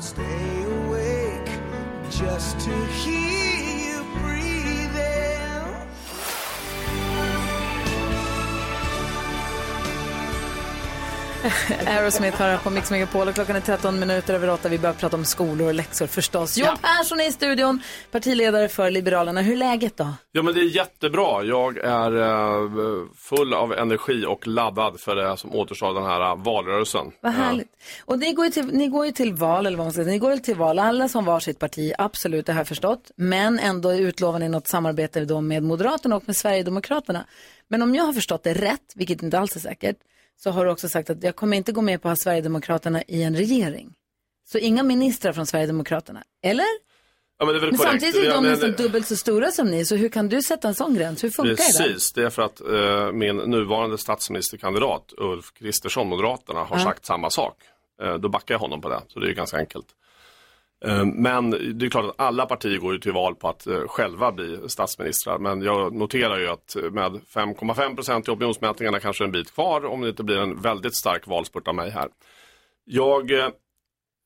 Just to hear you breathing [LAUGHS] Aerosmith hör på Mix Megapol och klockan är 13 minuter över åtta. Vi börjar prata om skolor och läxor förstås. Johan Persson är i studion, partiledare för Liberalerna. Hur är läget då? Ja men det är jättebra. Jag är eh, full av energi och laddad för det som återstår av den här eh, valrörelsen. Vad härligt. Och ni går, ju till, ni går ju till val, eller vad man säger. Ni går ju till val, alla som var sitt parti, absolut, det har jag förstått. Men ändå utlovar ni något samarbete då med Moderaterna och med Sverigedemokraterna. Men om jag har förstått det rätt, vilket inte alls är säkert, så har du också sagt att jag kommer inte gå med på att ha Sverigedemokraterna i en regering. Så inga ministrar från Sverigedemokraterna, eller? Ja, men det är väl Men korrekt. samtidigt är Ja, de men- nästan dubbelt så stora som ni, så hur kan du sätta en sån gräns? Hur funkar det? där? Precis, det är för att eh, min nuvarande statsministerkandidat Ulf Kristersson, Moderaterna, har Ja. sagt samma sak. Eh, då backar jag honom på det, så det är ju ganska enkelt. Eh, Men det är klart att alla partier går ju till val på att eh, själva bli statsministrar. Men jag noterar ju att med 5,5 procent i opinionsmätningarna kanske en bit kvar om det inte blir en väldigt stark valspurt av mig här. Jag, eh,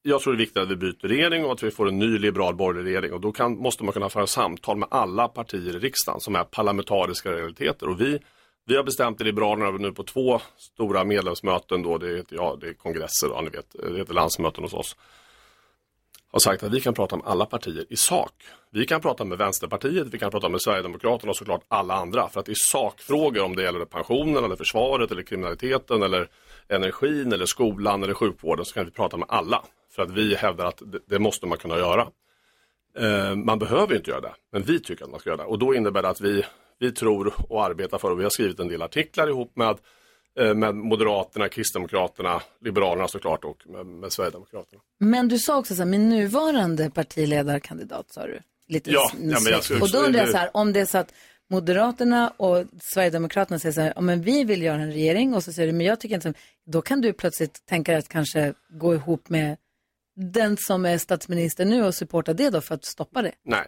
jag tror det är viktigt att vi byter regering och att vi får en ny liberal borgerlig regering. Och då kan, måste man kunna föra samtal med alla partier i riksdagen som är parlamentariska realiteter. Och vi, vi har bestämt i Liberalerna nu på två stora medlemsmöten, då, det, heter, ja, det är kongresser, ja, ni vet, det heter landsmöten hos oss har sagt att vi kan prata om alla partier i sak. Vi kan prata med Vänsterpartiet, vi kan prata med Sverigedemokraterna och såklart alla andra. För att i sakfrågor, om det gäller pensionen, eller försvaret, eller kriminaliteten, eller energin, eller skolan eller sjukvården, så kan vi prata med alla. För att vi hävdar att det, det måste man kunna göra. Eh, man behöver ju inte göra det, men vi tycker att man ska göra det. Och då innebär det att vi, vi tror och arbetar för, och vi har skrivit en del artiklar ihop med, eh, med Moderaterna, Kristdemokraterna, Liberalerna såklart och med, med Sverigedemokraterna. Men du sa också så här, min nuvarande partiledarkandidat sa du. Lite Ja, s- ja, men jag snyggt. skulle- Och då undrar jag så här, om det är så att Moderaterna och Sverigedemokraterna säger så här, ja, men vi vill göra en regering och så säger du, men jag tycker inte, då kan du plötsligt tänka dig att kanske gå ihop med den som är statsminister nu och supporta det då för att stoppa det. Nej.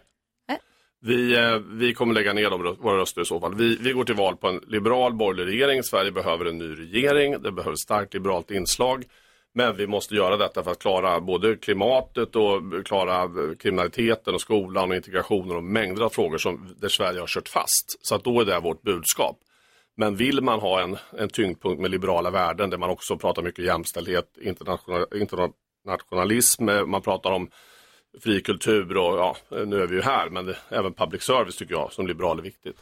Vi, eh, vi kommer lägga ner de, rö- våra röster i så fall. Vi, vi går till val på en liberal borgerlig regering. Sverige behöver en ny regering. Det behöver ett starkt liberalt inslag. Men vi måste göra detta för att klara både klimatet och klara eh, kriminaliteten och skolan och integrationen och mängder av frågor som, där Sverige har kört fast. Så att då är det vårt budskap. Men vill man ha en, en tyngdpunkt med liberala värden där man också pratar mycket jämställdhet, international, internationalism, eh, man pratar om fri kultur och ja, eh, nu är vi ju här, men det- även public service tycker jag som liberal är viktigt.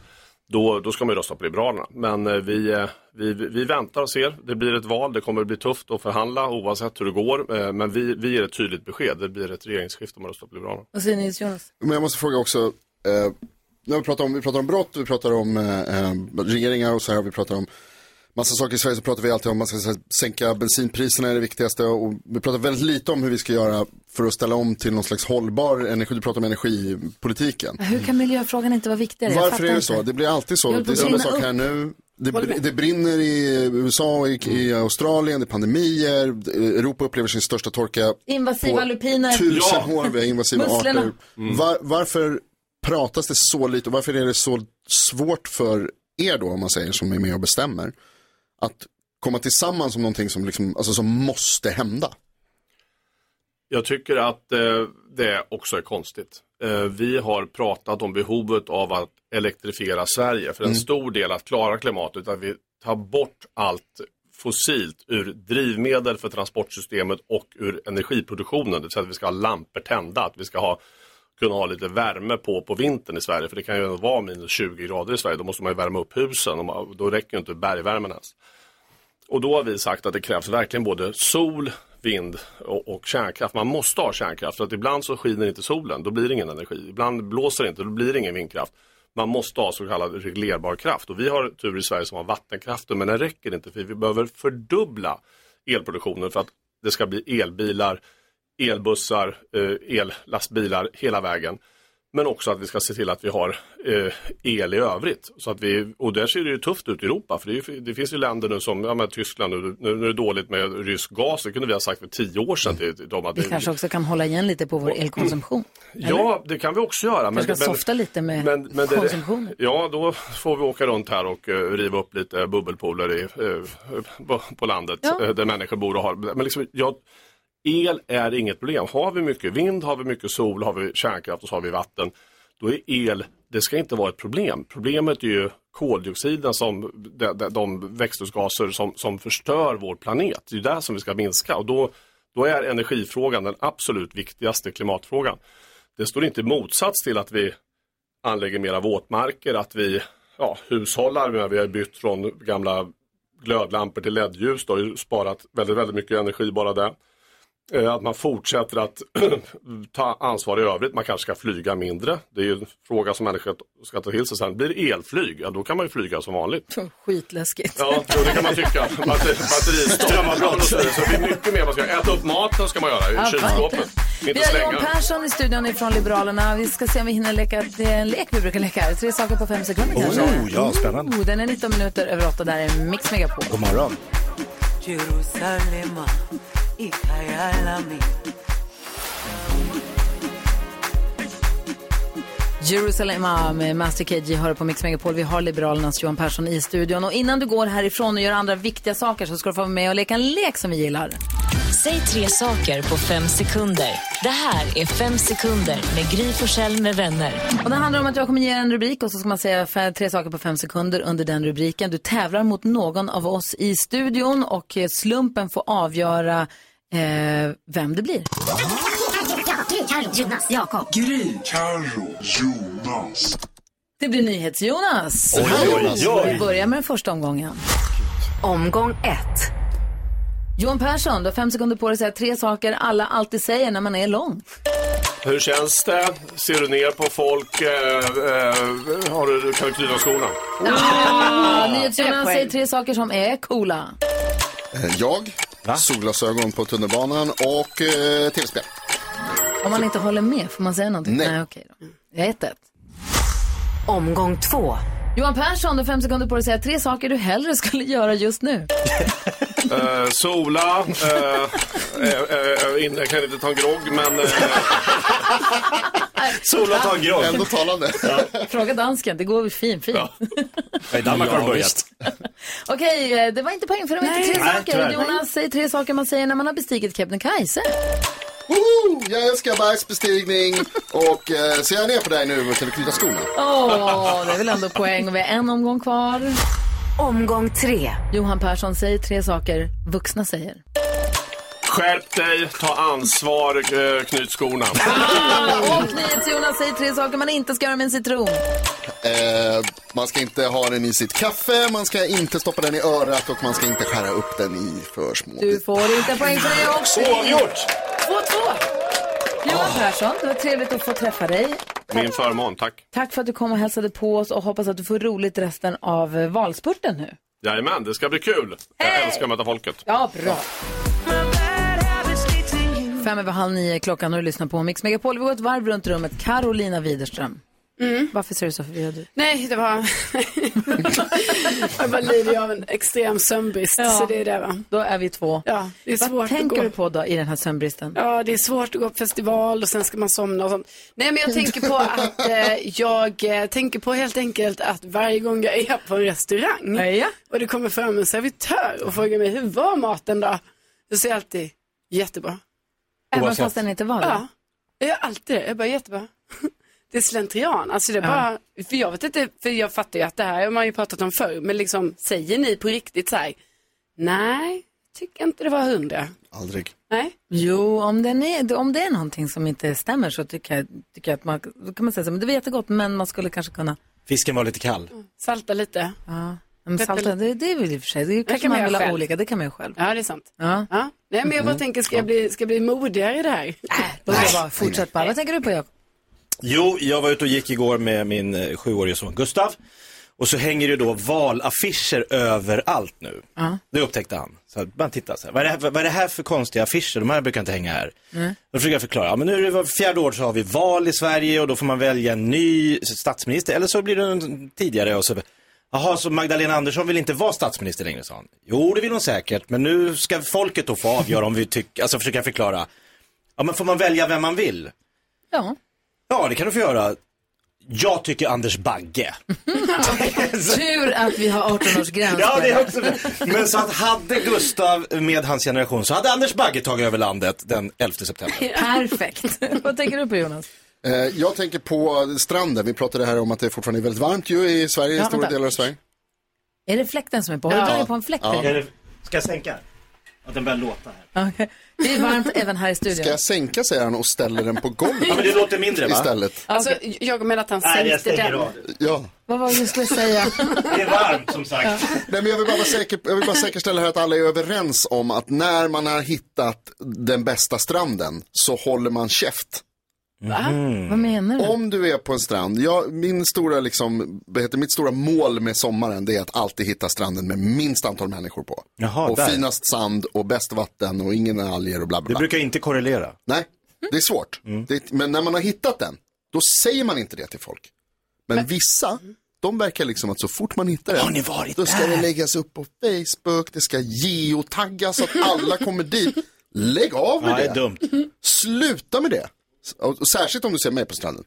Då, då ska man ju rösta på Liberalerna. Men eh, vi, eh, vi, vi väntar och ser. Det blir ett val. Det kommer att bli tufft att förhandla oavsett hur det går. Eh, Men vi, vi ger ett tydligt besked. Det blir ett regeringsskifte om man röstar på Liberalerna. Vad säger Nils Jonas? Men jag måste fråga också, eh, när vi, pratar om, vi pratar om brott, vi pratar om eh, eh, regeringar och så här, vi pratar om massa saker i Sverige, så pratar vi alltid om att man ska så här, sänka bensinpriserna är det viktigaste och vi pratar väldigt lite om hur vi ska göra för att ställa om till någon slags hållbar energi, du pratar [LAUGHS] om energipolitiken. Hur kan miljöfrågan inte vara viktigare? Jag Varför fattar är det inte. så? Det blir alltid Jag så. höll på Det är att samma brinna sak här upp. nu. Det, Håller med. det brinner i USA, och i, i Australien, det är pandemier, Europa upplever sin största torka Invasiva på lupiner. Tusen Ja. år, vi har invasiva Musslorna. arter. Mm. Var, varför pratas det så lite och varför är det så svårt för er då, om man säger, som är med och bestämmer, att komma tillsammans om någonting som, liksom, alltså, som måste hända? Jag tycker att eh, det också är konstigt. Eh, vi har pratat om behovet av att elektrifiera Sverige för en stor del att klara klimatet. Att vi tar bort allt fossilt ur drivmedel för transportsystemet och ur energiproduktionen. Det vill säga att vi ska ha lampor tända, att vi ska ha, kunna ha lite värme på på vintern i Sverige. För det kan ju vara minus 20 grader i Sverige. Då måste man ju värma upp husen och man, då räcker ju inte bergvärmen ens. Och då har vi sagt att det krävs verkligen både sol, vind och, och kärnkraft. Man måste ha kärnkraft för att ibland så skiner inte solen, då blir det ingen energi. Ibland blåser det inte, då blir det ingen vindkraft. Man måste ha så kallad reglerbar kraft och vi har tur i Sverige som har vattenkraften men den räcker inte för vi behöver fördubbla elproduktionen för att det ska bli elbilar, elbussar, eh, ellastbilar hela vägen. Men också att vi ska se till att vi har eh, el i övrigt. Så att vi, och där ser det ju tufft ut i Europa. För det, är ju, det finns ju länder nu som ja, men Tyskland, nu, nu, nu är det dåligt med rysk gas. Det kunde vi ha sagt för tio år sedan till, till dem. Att Vi kanske också kan hålla igen lite på vår elkonsumtion. Ja, det kan vi också göra. Kanske ska softa lite med det- konsumtionen. Ja, då får vi åka runt här och eh, riva upp lite bubbelpooler i, eh, på, på landet Ja. eh, där människor bor och har. Men liksom, ja, el är inget problem. Har vi mycket vind, har vi mycket sol, har vi kärnkraft och så har vi vatten. Då är el, det ska inte vara ett problem. Problemet är ju koldioxiden, som, de, de, de växthusgaser som, som förstör vår planet. Det är ju där som vi ska minska och då, då är energifrågan den absolut viktigaste klimatfrågan. Det står inte i motsats till att vi anlägger mera våtmarker, att vi ja, hushållar. med- Vi har bytt från gamla glödlampor till LED-ljus. Det har ju sparat väldigt, väldigt mycket energi bara det. Eh, Att man fortsätter att [CLEARS THROAT] ta ansvar i övrigt. Man kanske ska flyga mindre. Det är ju en fråga som människor ska ta till sig sen. Blir det elflyg, ja, då kan man ju flyga som vanligt. Skitläskigt. Ja, jo, det kan man [LAUGHS] tycka. Batteri, batteristopp. och så vidare. Så det blir mycket mer man ska äta upp maten ska man göra Ja, i kylskåpet. Vi Inte har slänga Johan den. Persson i studion ifrån Liberalerna. Vi ska se om vi hinner leka det är en lek vi brukar leka här. Tre saker på fem sekunder kanske. Oh, ja, spännande. Oh, den är 19 minuter över åtta. Där är Mix Megapol. God morgon. Jerusalema, Ikayalami. Jerusalem ah, med Master KG hör på Mix Megapol. Vi har Liberalernas Johan Persson i studion. Och innan du går härifrån och gör andra viktiga saker så ska du få vara med och leka en lek som vi gillar. Säg tre saker på fem sekunder. Det här är Fem sekunder med Gry Forssell med vänner. Och det handlar om att jag kommer ge en rubrik och så ska man säga f- tre saker på fem sekunder under den rubriken. Du tävlar mot någon av oss i studion och eh, slumpen får avgöra eh, vem det blir. Jonas, Jakob. Gry, Carro, Jonas. Det blir NyhetsJonas. Oj, oj, oj. Vi börjar med den första omgången. Omgång ett. Johan Persson, du har fem sekunder på dig att säga tre saker alla alltid säger när man är lång. Hur känns det? Ser du ner på folk? Eh, eh, har du kalkylaskorna? Ah, Ett [LAUGHS] NyhetsJonas poäng. säger tre saker som är coola. Eh, Jag, solglasögon på tunnelbanan och eh, tv-spel. Om man inte håller med, får man säga någonting? Nej. Nej okej då. Ett, ett. Omgång två. Johan Persson, du har fem sekunder på dig att säga tre saker du hellre skulle göra just nu. Eh, sola. Eh, eh, eh, in, jag kan inte ta en grogg, men... Eh, [LAUGHS] sola, ta en grogg. Ändå talande. Fråga dansken, det går fint, fint. I Danmark har det börjat. [LAUGHS] Okej, eh, det var inte poäng för det var inte tre Nej, saker. tyvärr. Jonas, säg tre saker man säger när man har bestigit Kebnekaise. Woho! Jag älskar bergsbestigning och eh, ser jag ner på dig nu kan du knyta skorna. Åh, det är väl ändå poäng och vi har en omgång kvar. Omgång tre. Johan Persson, säg tre saker vuxna säger. skärp dig, ta ansvar, eh, knyt skorna. Och NyhetsJonas, säg tre saker man inte ska göra med en citron. Eh, man ska inte ha den i sitt kaffe, man ska inte stoppa den i örat och man ska inte skära upp den i för små. Du får inte poäng för det också. Oavgjort! 2-2. Johan Persson, det var trevligt att få träffa dig. Min förmån, tack. Tack för att du kom och hälsade på oss och hoppas att du får roligt resten av eh, valspurten nu. Jajamän, det ska bli kul. Jag älskar att möta folket. Ja, bra. Fem över halv nio är klockan och du lyssnar på Mix Megapol. Vi går ett varv runt rummet. Carolina Widerström. Mm. Varför ser du så förvirrad ut? Nej, det var... [LAUGHS] jag bara lider ju av en extrem sömnbrist, Ja. så det är det va. Då är vi två. Ja, det är Vad svårt att tänker gå. du på då i den här sömnbristen? Ja, det är svårt att gå på festival och sen ska man somna och sånt. Nej, men jag tänker [LAUGHS] på att eh, jag eh, tänker på helt enkelt att varje gång jag är på en restaurang och det kommer fram en servitör och frågar mig hur var maten då? Då säger jag alltid jättebra. Även fast den inte var det? Ja, jag gör alltid det. Jag bara jättebra. [LAUGHS] Det är slentrian. Alltså det är bara, för jag vet inte, för jag fattar ju att det här har man ju pratat om förr, men liksom säger ni på riktigt så här, nej, tycker inte det var hundra. Aldrig. Nej. Jo, om, den är, om det är någonting som inte stämmer så tycker jag, tycker jag att man då kan man säga så här, men det var jättegott men man skulle kanske kunna Fisken var lite kall. Salta lite. Ja. Men salta, det, det är väl i och för sig, det, det kanske kan man man göra vill ha själv. olika, det kan man ju själv. Ja, det är sant. Ja. Ja. Nej, men jag bara tänker, ska jag bli, ska jag bli modigare i det här? Då vill jag bara, fortsätt bara. Vad tänker du på Jakob? Jo, jag var ute och gick igår med min eh, sjuårige son Gustav. Och så hänger det då valaffischer överallt nu. Ja. Det upptäckte han. Så att man tittar så här, vad är, det här, vad är det här för konstiga affischer? De här brukar inte hänga här. Nej. Då försöker jag förklara, ja, men nu är det var fjärde år så har vi val i Sverige och då får man välja en ny statsminister eller så blir det en tidigare och så. Jaha, så Magdalena Andersson vill inte vara statsminister längre, sa han. Jo, det vill hon säkert, men nu ska folket då få avgöra om vi tycker, alltså försöka förklara. Ja, men får man välja vem man vill? Ja. Ja, det kan du få göra. Jag tycker Anders Bagge. Tur att vi har 18-årsgräns. Ja, det är också Men så att hade Gustav med hans generation så hade Anders Bagge tagit över landet den 11 september. [LAUGHS] Perfekt. [LAUGHS] Vad tänker du på Jonas? Eh, jag tänker på stranden. Vi pratade här om att det fortfarande är väldigt varmt ju i Sverige, Ja, i stora vänta. delar av Sverige. Är det fläkten som är på? Har du dragit på en fläkt? Ja. eller? Ska jag sänka? Att den börjar låta här. Okej. Det är varmt även här i Ska studion. jag sänka säger han och ställer den på golvet. Ja, men det låter mindre, va? Istället. Alltså, jag menar att han sänkte den. Ja. Vad var det du skulle säga? Det är varmt som sagt. Nej, men jag, vill bara vara säker, jag vill bara säkerställa här att alla är överens om att när man har hittat den bästa stranden så håller man käft. Vad menar du? Om du är på en strand, jag, min stora liksom, vad heter, mitt stora mål med sommaren det är att alltid hitta stranden med minst antal människor på. Jaha, och där. finast sand och bäst vatten och ingen alger och bla bla Det bla. brukar Mm. inte korrelera. Nej, det är svårt. Det, men när man har hittat den, då säger man inte det till folk. Men, vissa, de verkar liksom att så fort man hittar den, då ska det läggas upp på Facebook, det ska geotaggas så att alla kommer dit. Lägg av med Ja, det det. är dumt. Sluta med det. Och, och särskilt om du ser mig på stranden.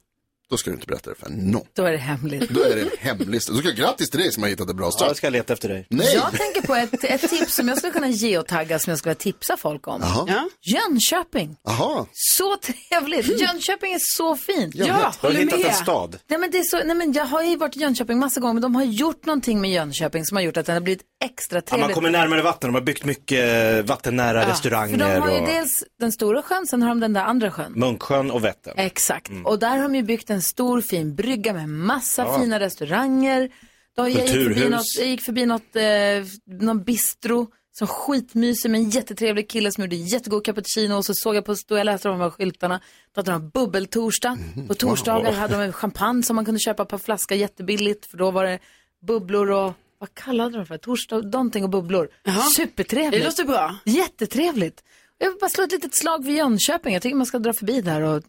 Då ska du inte berätta det för någon. Då är det hemligt. Då är det en hemlig strand. Då ska jag grattis till dig som har hittat en bra strand. jag ska leta efter dig. Nej. Jag tänker på ett, ett tips som jag skulle kunna geotagga som jag skulle vilja tipsa folk om. Jaha. Ja. Jönköping. Jaha. Så trevligt! Jönköping är så fint. Mm. Jag vet. Du har hittat en stad. Nej, men det är så, nej, men jag har ju varit i Jönköping massa gånger, men de har gjort någonting med Jönköping som har gjort att den har blivit extra Ja, trevlig. man kommer närmare vatten, de har byggt mycket vattennära Ja, restauranger. För de har ju och... dels den stora sjön, sen har de den där andra sjön. Munksjön och Vättern. Exakt. Och där har de ju byggt en stor fin brygga med massa Mm. Ja. fina restauranger. Då jag, gick förbi Kulturhus. något, jag gick förbi något, eh, någon bistro som skitmysig med en jättetrevlig kille som gjorde jättegod cappuccino och så såg jag på, stod jag läste de här skyltarna, då hade de bubbeltorsdag. Mhm. På torsdagar Wow. hade de champagne som man kunde köpa per flaska jättebilligt för då var det bubblor och vad kallade de för? Torsdag, någonting och bubblor. Supertrevligt. Det låter bra. Jättetrevligt. Jag vill bara slå ett litet slag vid Jönköping. Jag tycker man ska dra förbi där och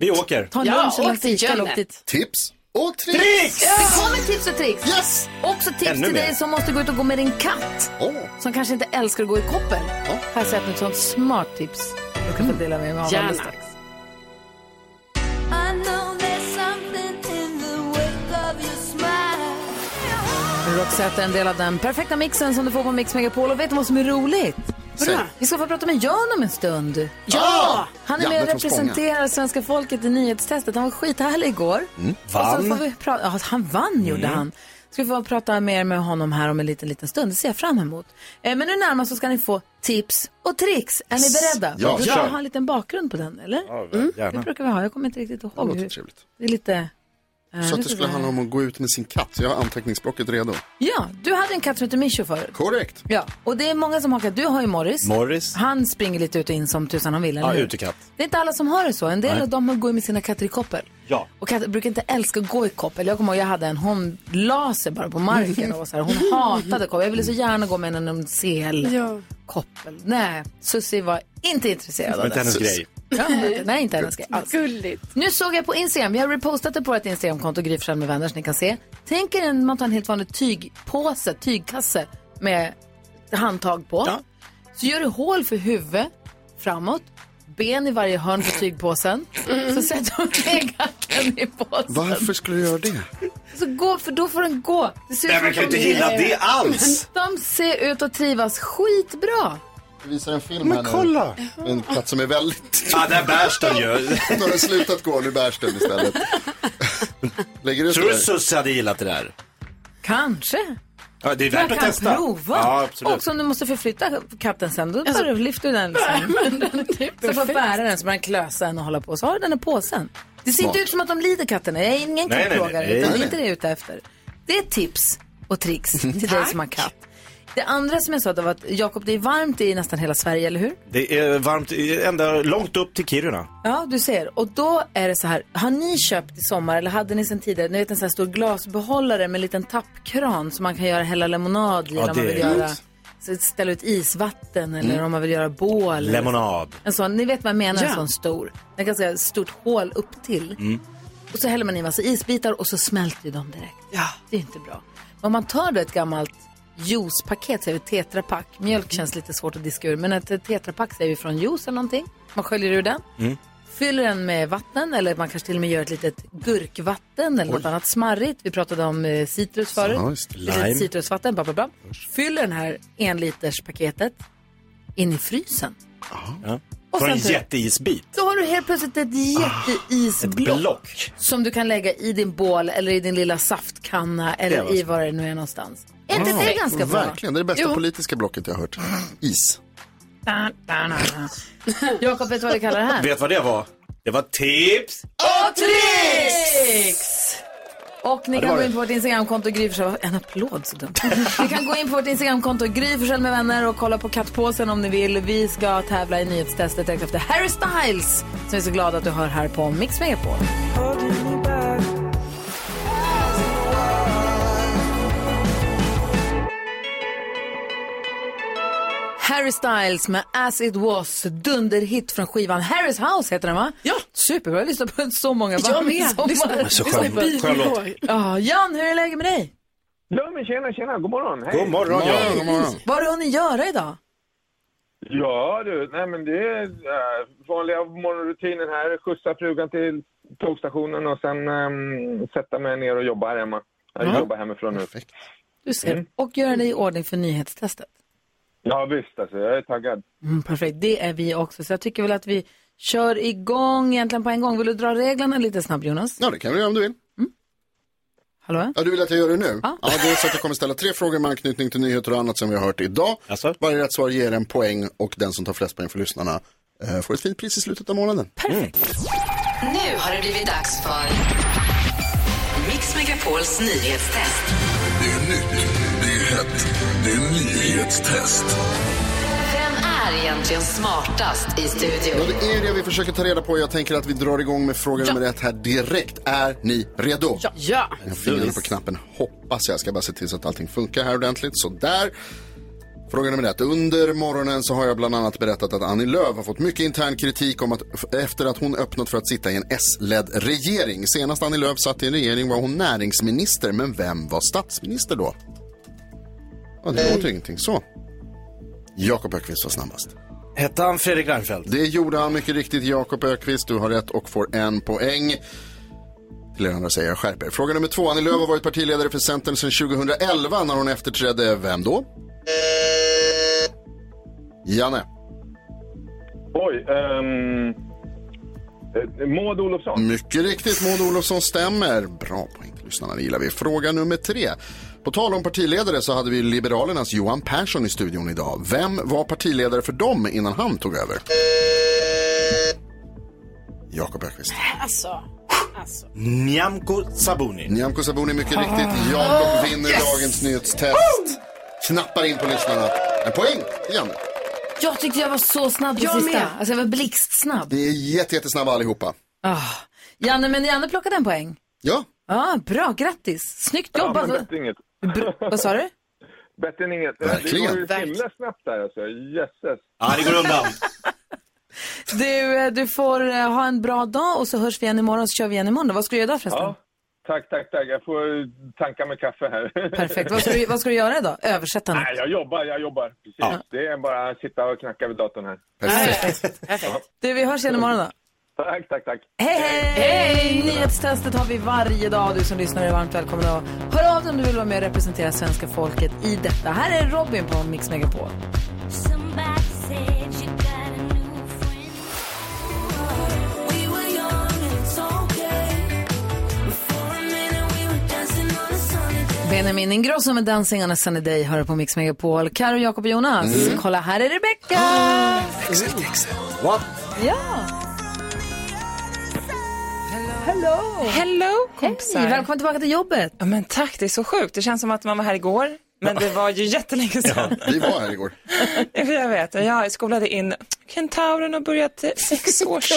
Vi åker. Ta en lunch eller en fika eller åk dit. Tips och tricks! Det kommer tips och tricks! Yes! Också tips Ännu till mer. dig som måste gå ut och gå med din katt. Som kanske inte älskar att gå i koppel. Här ser jag ett sånt smart tips. Jag kan få dela med mig av Gärna. alldeles strax. Roxette är en del av den perfekta mixen som du får på Mix Megapol. Och vet du vad som är roligt? Säg. Vi ska få prata med Jan om en stund. Ja! Han är Janne med och från Spånga. representerar svenska folket i nyhetstestet. Han var skithärlig igår. Mm. Och så får vi prata, ja, han vann gjorde Mm. han. Ska vi få prata mer med honom här om en liten, liten stund. Det ser jag fram emot. Eh, men nu närmast så ska ni få tips och tricks. Är ni beredda? Ja, vi kör. ha en liten bakgrund på den, eller? Ja, väl, gärna. Det brukar Mm, vi ha. Jag kommer inte riktigt Det ihåg. låter hur- trevligt. Det är lite... eh, Så nu att ska det skulle vi- handla om att gå ut med sin katt. Så jag har anteckningsblocket redo. Ja, du hade en katt som hette Misho förut. Korrekt. Ja, och det är många som hakar. Du har ju Morris. Morris. Han springer lite ut och in som tusan han vill, eller Ja, hur? utekatt. Det är inte alla som har det så. En del Nej. av dem går med sina katter i koppel. Ja. Och katter brukar inte älska att gå i koppel. Jag kommer ihåg, jag hade en, hon la sig bara på marken och var så här, [LAUGHS] hon hatade koppel. Jag ville så gärna gå med en CL. Ja. Koppel. Nej, Susie var inte intresserad av Det var inte hennes Sus- grej. Ja, nej, inte hennes grej alls. Gulligt. Nu såg jag på Instagram, vi har repostat det på vårt Instagramkonto, Gry Forssell med vänner, så ni kan se. Tänk er en, man tar en helt vanlig tygpåse, tygkasse med handtag på. Så gör du hål för huvud framåt, ben i varje hörn på tygpåsen. Så [LAUGHS] sätter du omkring katten i påsen. Varför skulle du göra det? Så gå, för då får den gå. Det ser ut Nej, som men att kan de- inte gilla det alls. De ser ut att trivas skitbra. Vi visar en film Men här kolla. nu. En katt som är väldigt... [LAUGHS] Ja, där bärs den ju. [LAUGHS] Nu har den slutat gå, nu bärs den [LAUGHS] istället. Lägger ut Tror du det där. Susse hade gillat det där? Kanske. Ja, det är Man värt kan att testa. prova. Ja, absolut. Och om du måste förflytta katten sen, då bara lyfter du den. Liksom. [LAUGHS] så får du bära den, så man kan klösa den och hålla på. Så har du den i påsen. Det ser Smart. inte ut som att de lider katterna. Jag är ingen Nej, nej, nej. kattplågare, utan Nej, det är nej. inte det jag är ute efter. Det är ett tips. och tricks till dig som har katt. Det andra som jag sa det var att Jakob, det är varmt i nästan hela Sverige, eller hur? Det är varmt, eh, ända långt upp till Kiruna. Ja, du ser. Och då är det så här, har ni köpt i sommar eller hade ni sen tidigare, ni vet en sån här stor glasbehållare med en liten tappkran som man kan göra hälla lemonad i Ja, eller om man det vill är göra, gott. så ställa ut isvatten eller Mm. om man vill göra bål. eller- Lemonad. En sån, ni vet vad jag menar, en Ja. sån stor. Den kan säga ett stort hål upp till. Mm. Och så häller man i massa isbitar och så smälter ju de direkt. Ja. Det är inte bra. Men om man tar då ett gammalt juicepaket, säger vi tetrapack. Mjölk känns lite svårt att diska ur, men ett tetrapack säger vi från juice eller någonting. Man sköljer ur den, Mm. fyller den med vatten eller man kanske till och med gör ett litet gurkvatten eller något annat smarrigt. Vi pratade om eh, citrus förut. Ja, just det. Lite Lime. citrusvatten, bla bla bla. Fyller den här enliterspaketet in i frysen. Ja. Och Från en sen typ- tar- jätteisbit. Då har du helt plötsligt ett Ett jätteisblock block. som du kan lägga i din bål eller i din lilla saftkanna eller Det var i var det nu är någonstans. Är inte det ganska bra? Verkligen, det är det bästa Jo. politiska blocket jag har hört. Is. Dun, dun, dun, dun. Jakob, vet du vad vi kallar [LAUGHS] det här? Vet vad det var? Det var tips! Och tricks! Och ni Ja, det var kan gå det. in på vårt Instagramkonto Gry Forssell- En applåd så dumt. [LAUGHS] ni kan gå in på vårt Instagramkonto Gry Forssell med vänner och kolla på kattpåsen om ni vill. Vi ska tävla i nyhetstestet direkt efter Harry Styles som vi är så glada att du hör här på Mix Megapol. Harry Styles med As It Was, dunderhit från skivan Harry's House heter den va? Ja! Superbra, jag har lyssnat på så många Jag band [LAUGHS] med. i sommar. Lyssna- Det är så skön- lyssna på skön låt. bilen. Ja, Jan, hur är läget med dig? Ja, men tjena, tjena, god morgon. Hej. God morgon, ja. God morgon. Vad har du hunnit göra idag? Ja, du, nej men det är äh, vanliga morgonrutinen här. Skjutsa frugan till tågstationen och sen ehm, sätta mig ner och jobba här hemma. Jag jobbar hemifrån nu. Du ser, Mm. och göra dig i ordning för nyhetstestet. Ja, visst alltså, jag är taggad. Mm, perfekt, det är vi också. Så jag tycker väl att vi kör igång egentligen på en gång. Vill du dra reglerna lite snabbt Jonas? Ja, det kan du göra om du vill. Hallå? Ja, du vill att jag gör det nu? Ja. Ja, det är så att jag kommer ställa tre frågor med anknytning till nyheter och annat som vi har hört idag. Varje rätt svar ger en poäng och den som tar flest poäng för lyssnarna eh, får ett fint pris i slutet av månaden. Nu har det blivit dags för Mix Megapols nyhetstest. Mm. Det är nytt, det är hett, det är nyhetstest. Vem är egentligen smartast i Ja, studion? det är det vi försöker ta reda på. Jag tänker att vi drar igång med fråga nummer ett här direkt. Är ni redo? Ja. Ja. Jag har fingrarna på knappen, hoppas jag. Ska bara se till så att allting funkar här ordentligt. Så där. Fråga nummer ett. Under morgonen så har jag bland annat berättat att Annie Lööf har fått mycket intern kritik om att f- efter att hon öppnat för att sitta i en S-ledd regering. Senast Annie Lööf satt i en regering var hon näringsminister, men vem var statsminister då? Ja, det låter ingenting. Så. Jakob Ökvist var snabbast. Hette han Fredrik Reinfeldt? Det gjorde han mycket riktigt. Jakob Ökvist, du har rätt och får en poäng. Till er andra säger jag skärp er. Fråga nummer två. Annie Lööf har varit partiledare för Centern sedan 2011 när hon efterträdde vem då? Janne. Oj, ehm, eh, Maud Olofsson. Mycket riktigt, Maud Olofsson stämmer. Bra poäng till lyssnarna, det gillar vi. Fråga nummer tre. På tal om partiledare så hade vi Liberalernas Johan Persson i studion idag. Vem var partiledare för dem innan han tog över? Jakob Ökvist. Alltså, alltså. Nyamko Sabuni. Nyamko Sabuni mycket riktigt. Ah, Jakob vinner yes! dagens nyhetstest. Knappar in på lyssnarna. En poäng till Janne. Jag tyckte jag var så snabb på Jag sista. med. Alltså jag var blixtsnabb. Ni är jätte, jättesnabba allihopa. Ah. Janne, men Janne plockade en poäng. Ja. Ja, bra, grattis. Snyggt Ja, jobbat. men bättre inget. Bra- Vad sa du? Bättre än inget. Verkligen. Det går ju himla snabbt där alltså, jösses. Ja, det går undan. Du, eh, du får eh, ha en bra dag och så hörs vi igen imorgon så kör vi igen imorgon. Vad ska du göra idag förresten? Ja. Tack, tack, tack. Jag får tanka med kaffe här. Perfekt. Vad ska, du, vad ska du göra idag? Översätta något. Nej, jag jobbar, jag jobbar. Precis. Det är bara att sitta och knacka vid datorn här. Du, vi hörs igen imorgon då. Tack, tack, tack. Hej, hej! hej! Nyhetstestet har vi varje dag. Du som lyssnar är varmt välkommen att höra av dig om du vill vara med och representera svenska folket i detta. Här är Robin på Mix Megapol. Benjamin Ingrosso med Dancing on a sunny day hör på Mix Megapol. Karo, Jakob och Jonas. Mm. Kolla, här är Rebecca! Exit, exit. What? Ja! Hello! Hello! Hello kompisar! Hej, välkommen tillbaka till jobbet! Ja, men tack, det är så sjukt. Det känns som att man var här igår, men det var ju jättelänge sedan. Vi var här igår. [LAUGHS] Jag vet, jag skolade in kentauren och börjat eh, [LAUGHS] sex års...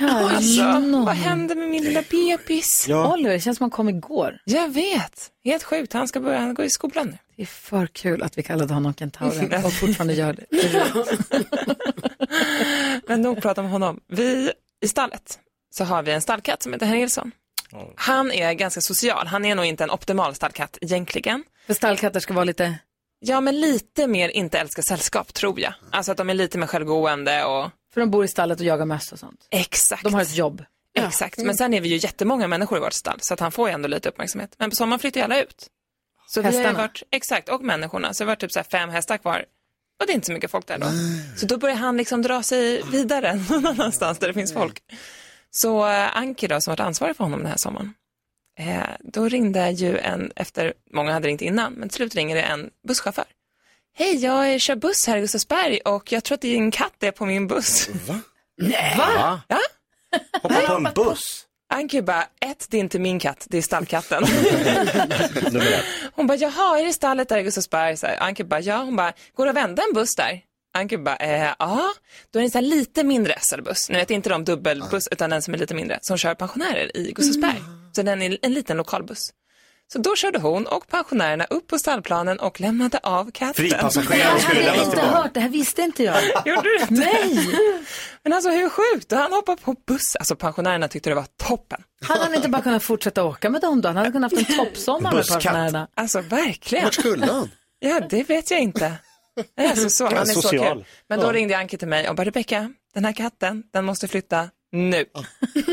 alltså, vad hände med min lilla bebis? Ja. Oliver, det känns som han kom igår. Jag vet, helt sjukt. Han ska börja, han går i skolan nu. Det är för kul att vi kallade honom kentauren och fortfarande gör det. Men nog prata om honom. Vi, i stallet, så har vi en stallkatt som heter Nilsson. Han är ganska social. Han är nog inte en optimal stallkatt egentligen. För stallkatter ska vara lite... Ja, men lite mer inte älska sällskap tror jag. Alltså att de är lite mer självgående och... För de bor i stallet och jagar möss och sånt. Exakt. Mm. De har ett jobb. Exakt, men sen är vi ju jättemånga människor i vårt stall så att han får ju ändå lite uppmärksamhet. Men på sommaren flyttar ju alla ut. Så vi har ju Hästarna. varit, exakt, och människorna. Så det har varit typ så här fem hästar kvar. Och det är inte så mycket folk där då. Så då börjar han liksom dra sig vidare [LAUGHS] någon annanstans där det finns folk. Så eh, Anki då, som varit ansvarig för honom den här sommaren, eh, då ringde ju en, efter, många hade ringt innan, men till slut ringer det en busschaufför. Hej, jag eh, kör buss här i Gustavsberg och jag tror att din katt är på min buss. Va? Nej. Va? Ja. Hoppa på en buss. Anki bara, ett, det är inte min katt, det [LAUGHS] är stallkatten. Hon bara, jaha, är det stallet där i Gustavsberg? Så här, Anke bara, ja. Hon bara, går det att vända en buss där? Anke bara, eh, ja. Då är det en så här lite mindre SL-buss. Nu vet inte de dubbelbuss, utan den som är lite mindre, som kör pensionärer i Gustavsberg. Mm. Så den är en liten lokalbuss. Så då körde hon och pensionärerna upp på stallplanen och lämnade av katten. Fripassagerare skulle Jag har lämnas inte tillbaka. hört, det här visste inte jag. Gjorde du inte? Nej! Men alltså hur sjukt? Han hoppade på buss. Alltså pensionärerna tyckte det var toppen. Hade han inte bara kunnat fortsätta åka med dem då? Han hade kunnat haft en toppsommar med pensionärerna. Alltså verkligen. Vart skulle han? Ja, det vet jag inte. Nej, Alltså, så, han är så Social. kul. Men då Ja. ringde Anki till mig och bara, Rebecka, den här katten, den måste flytta nu.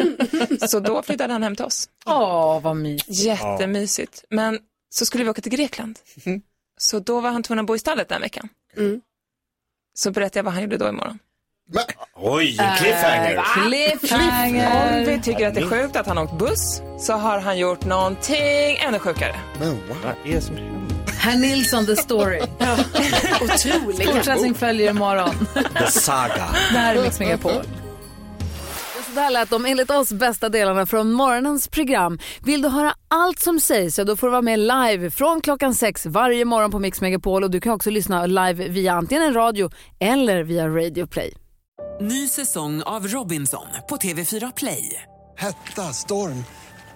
[LAUGHS] så då flyttade han hem till oss. Åh, vad mysigt. Jättemysigt. Men så skulle vi åka till Grekland. Mm. Så då var han tvungen att bo i stallet den veckan. Så berättade jag vad han gjorde då imorgon. Oj, en cliffhanger. Va? Eh, Cliffhanger. Om vi tycker att det är sjukt att han åkt buss så har han gjort någonting ännu sjukare. Vad är det som händer? Herr Nilsson, the story. Otroligt. Fortsättning följer imorgon. [LAUGHS] The saga. Det här är Mix Megapol. Så där lät de enligt oss bästa delarna från morgonens program. Vill du höra allt som sägs så då får du vara med live från klockan sex varje morgon på Mix Megapol och du kan också lyssna live via antingen en radio eller via Radio Play. Ny säsong av Robinson på TV4 Play. Hetta, storm,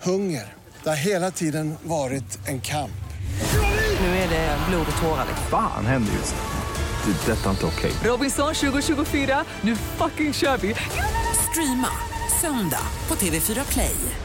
hunger. Det har hela tiden varit en kamp. Nu är det blod och tårar. liksom. Fan händer just nu. Det. är Detta är inte okej. Robinson 2024, nu fucking kör vi! Streama söndag på TV4 Play.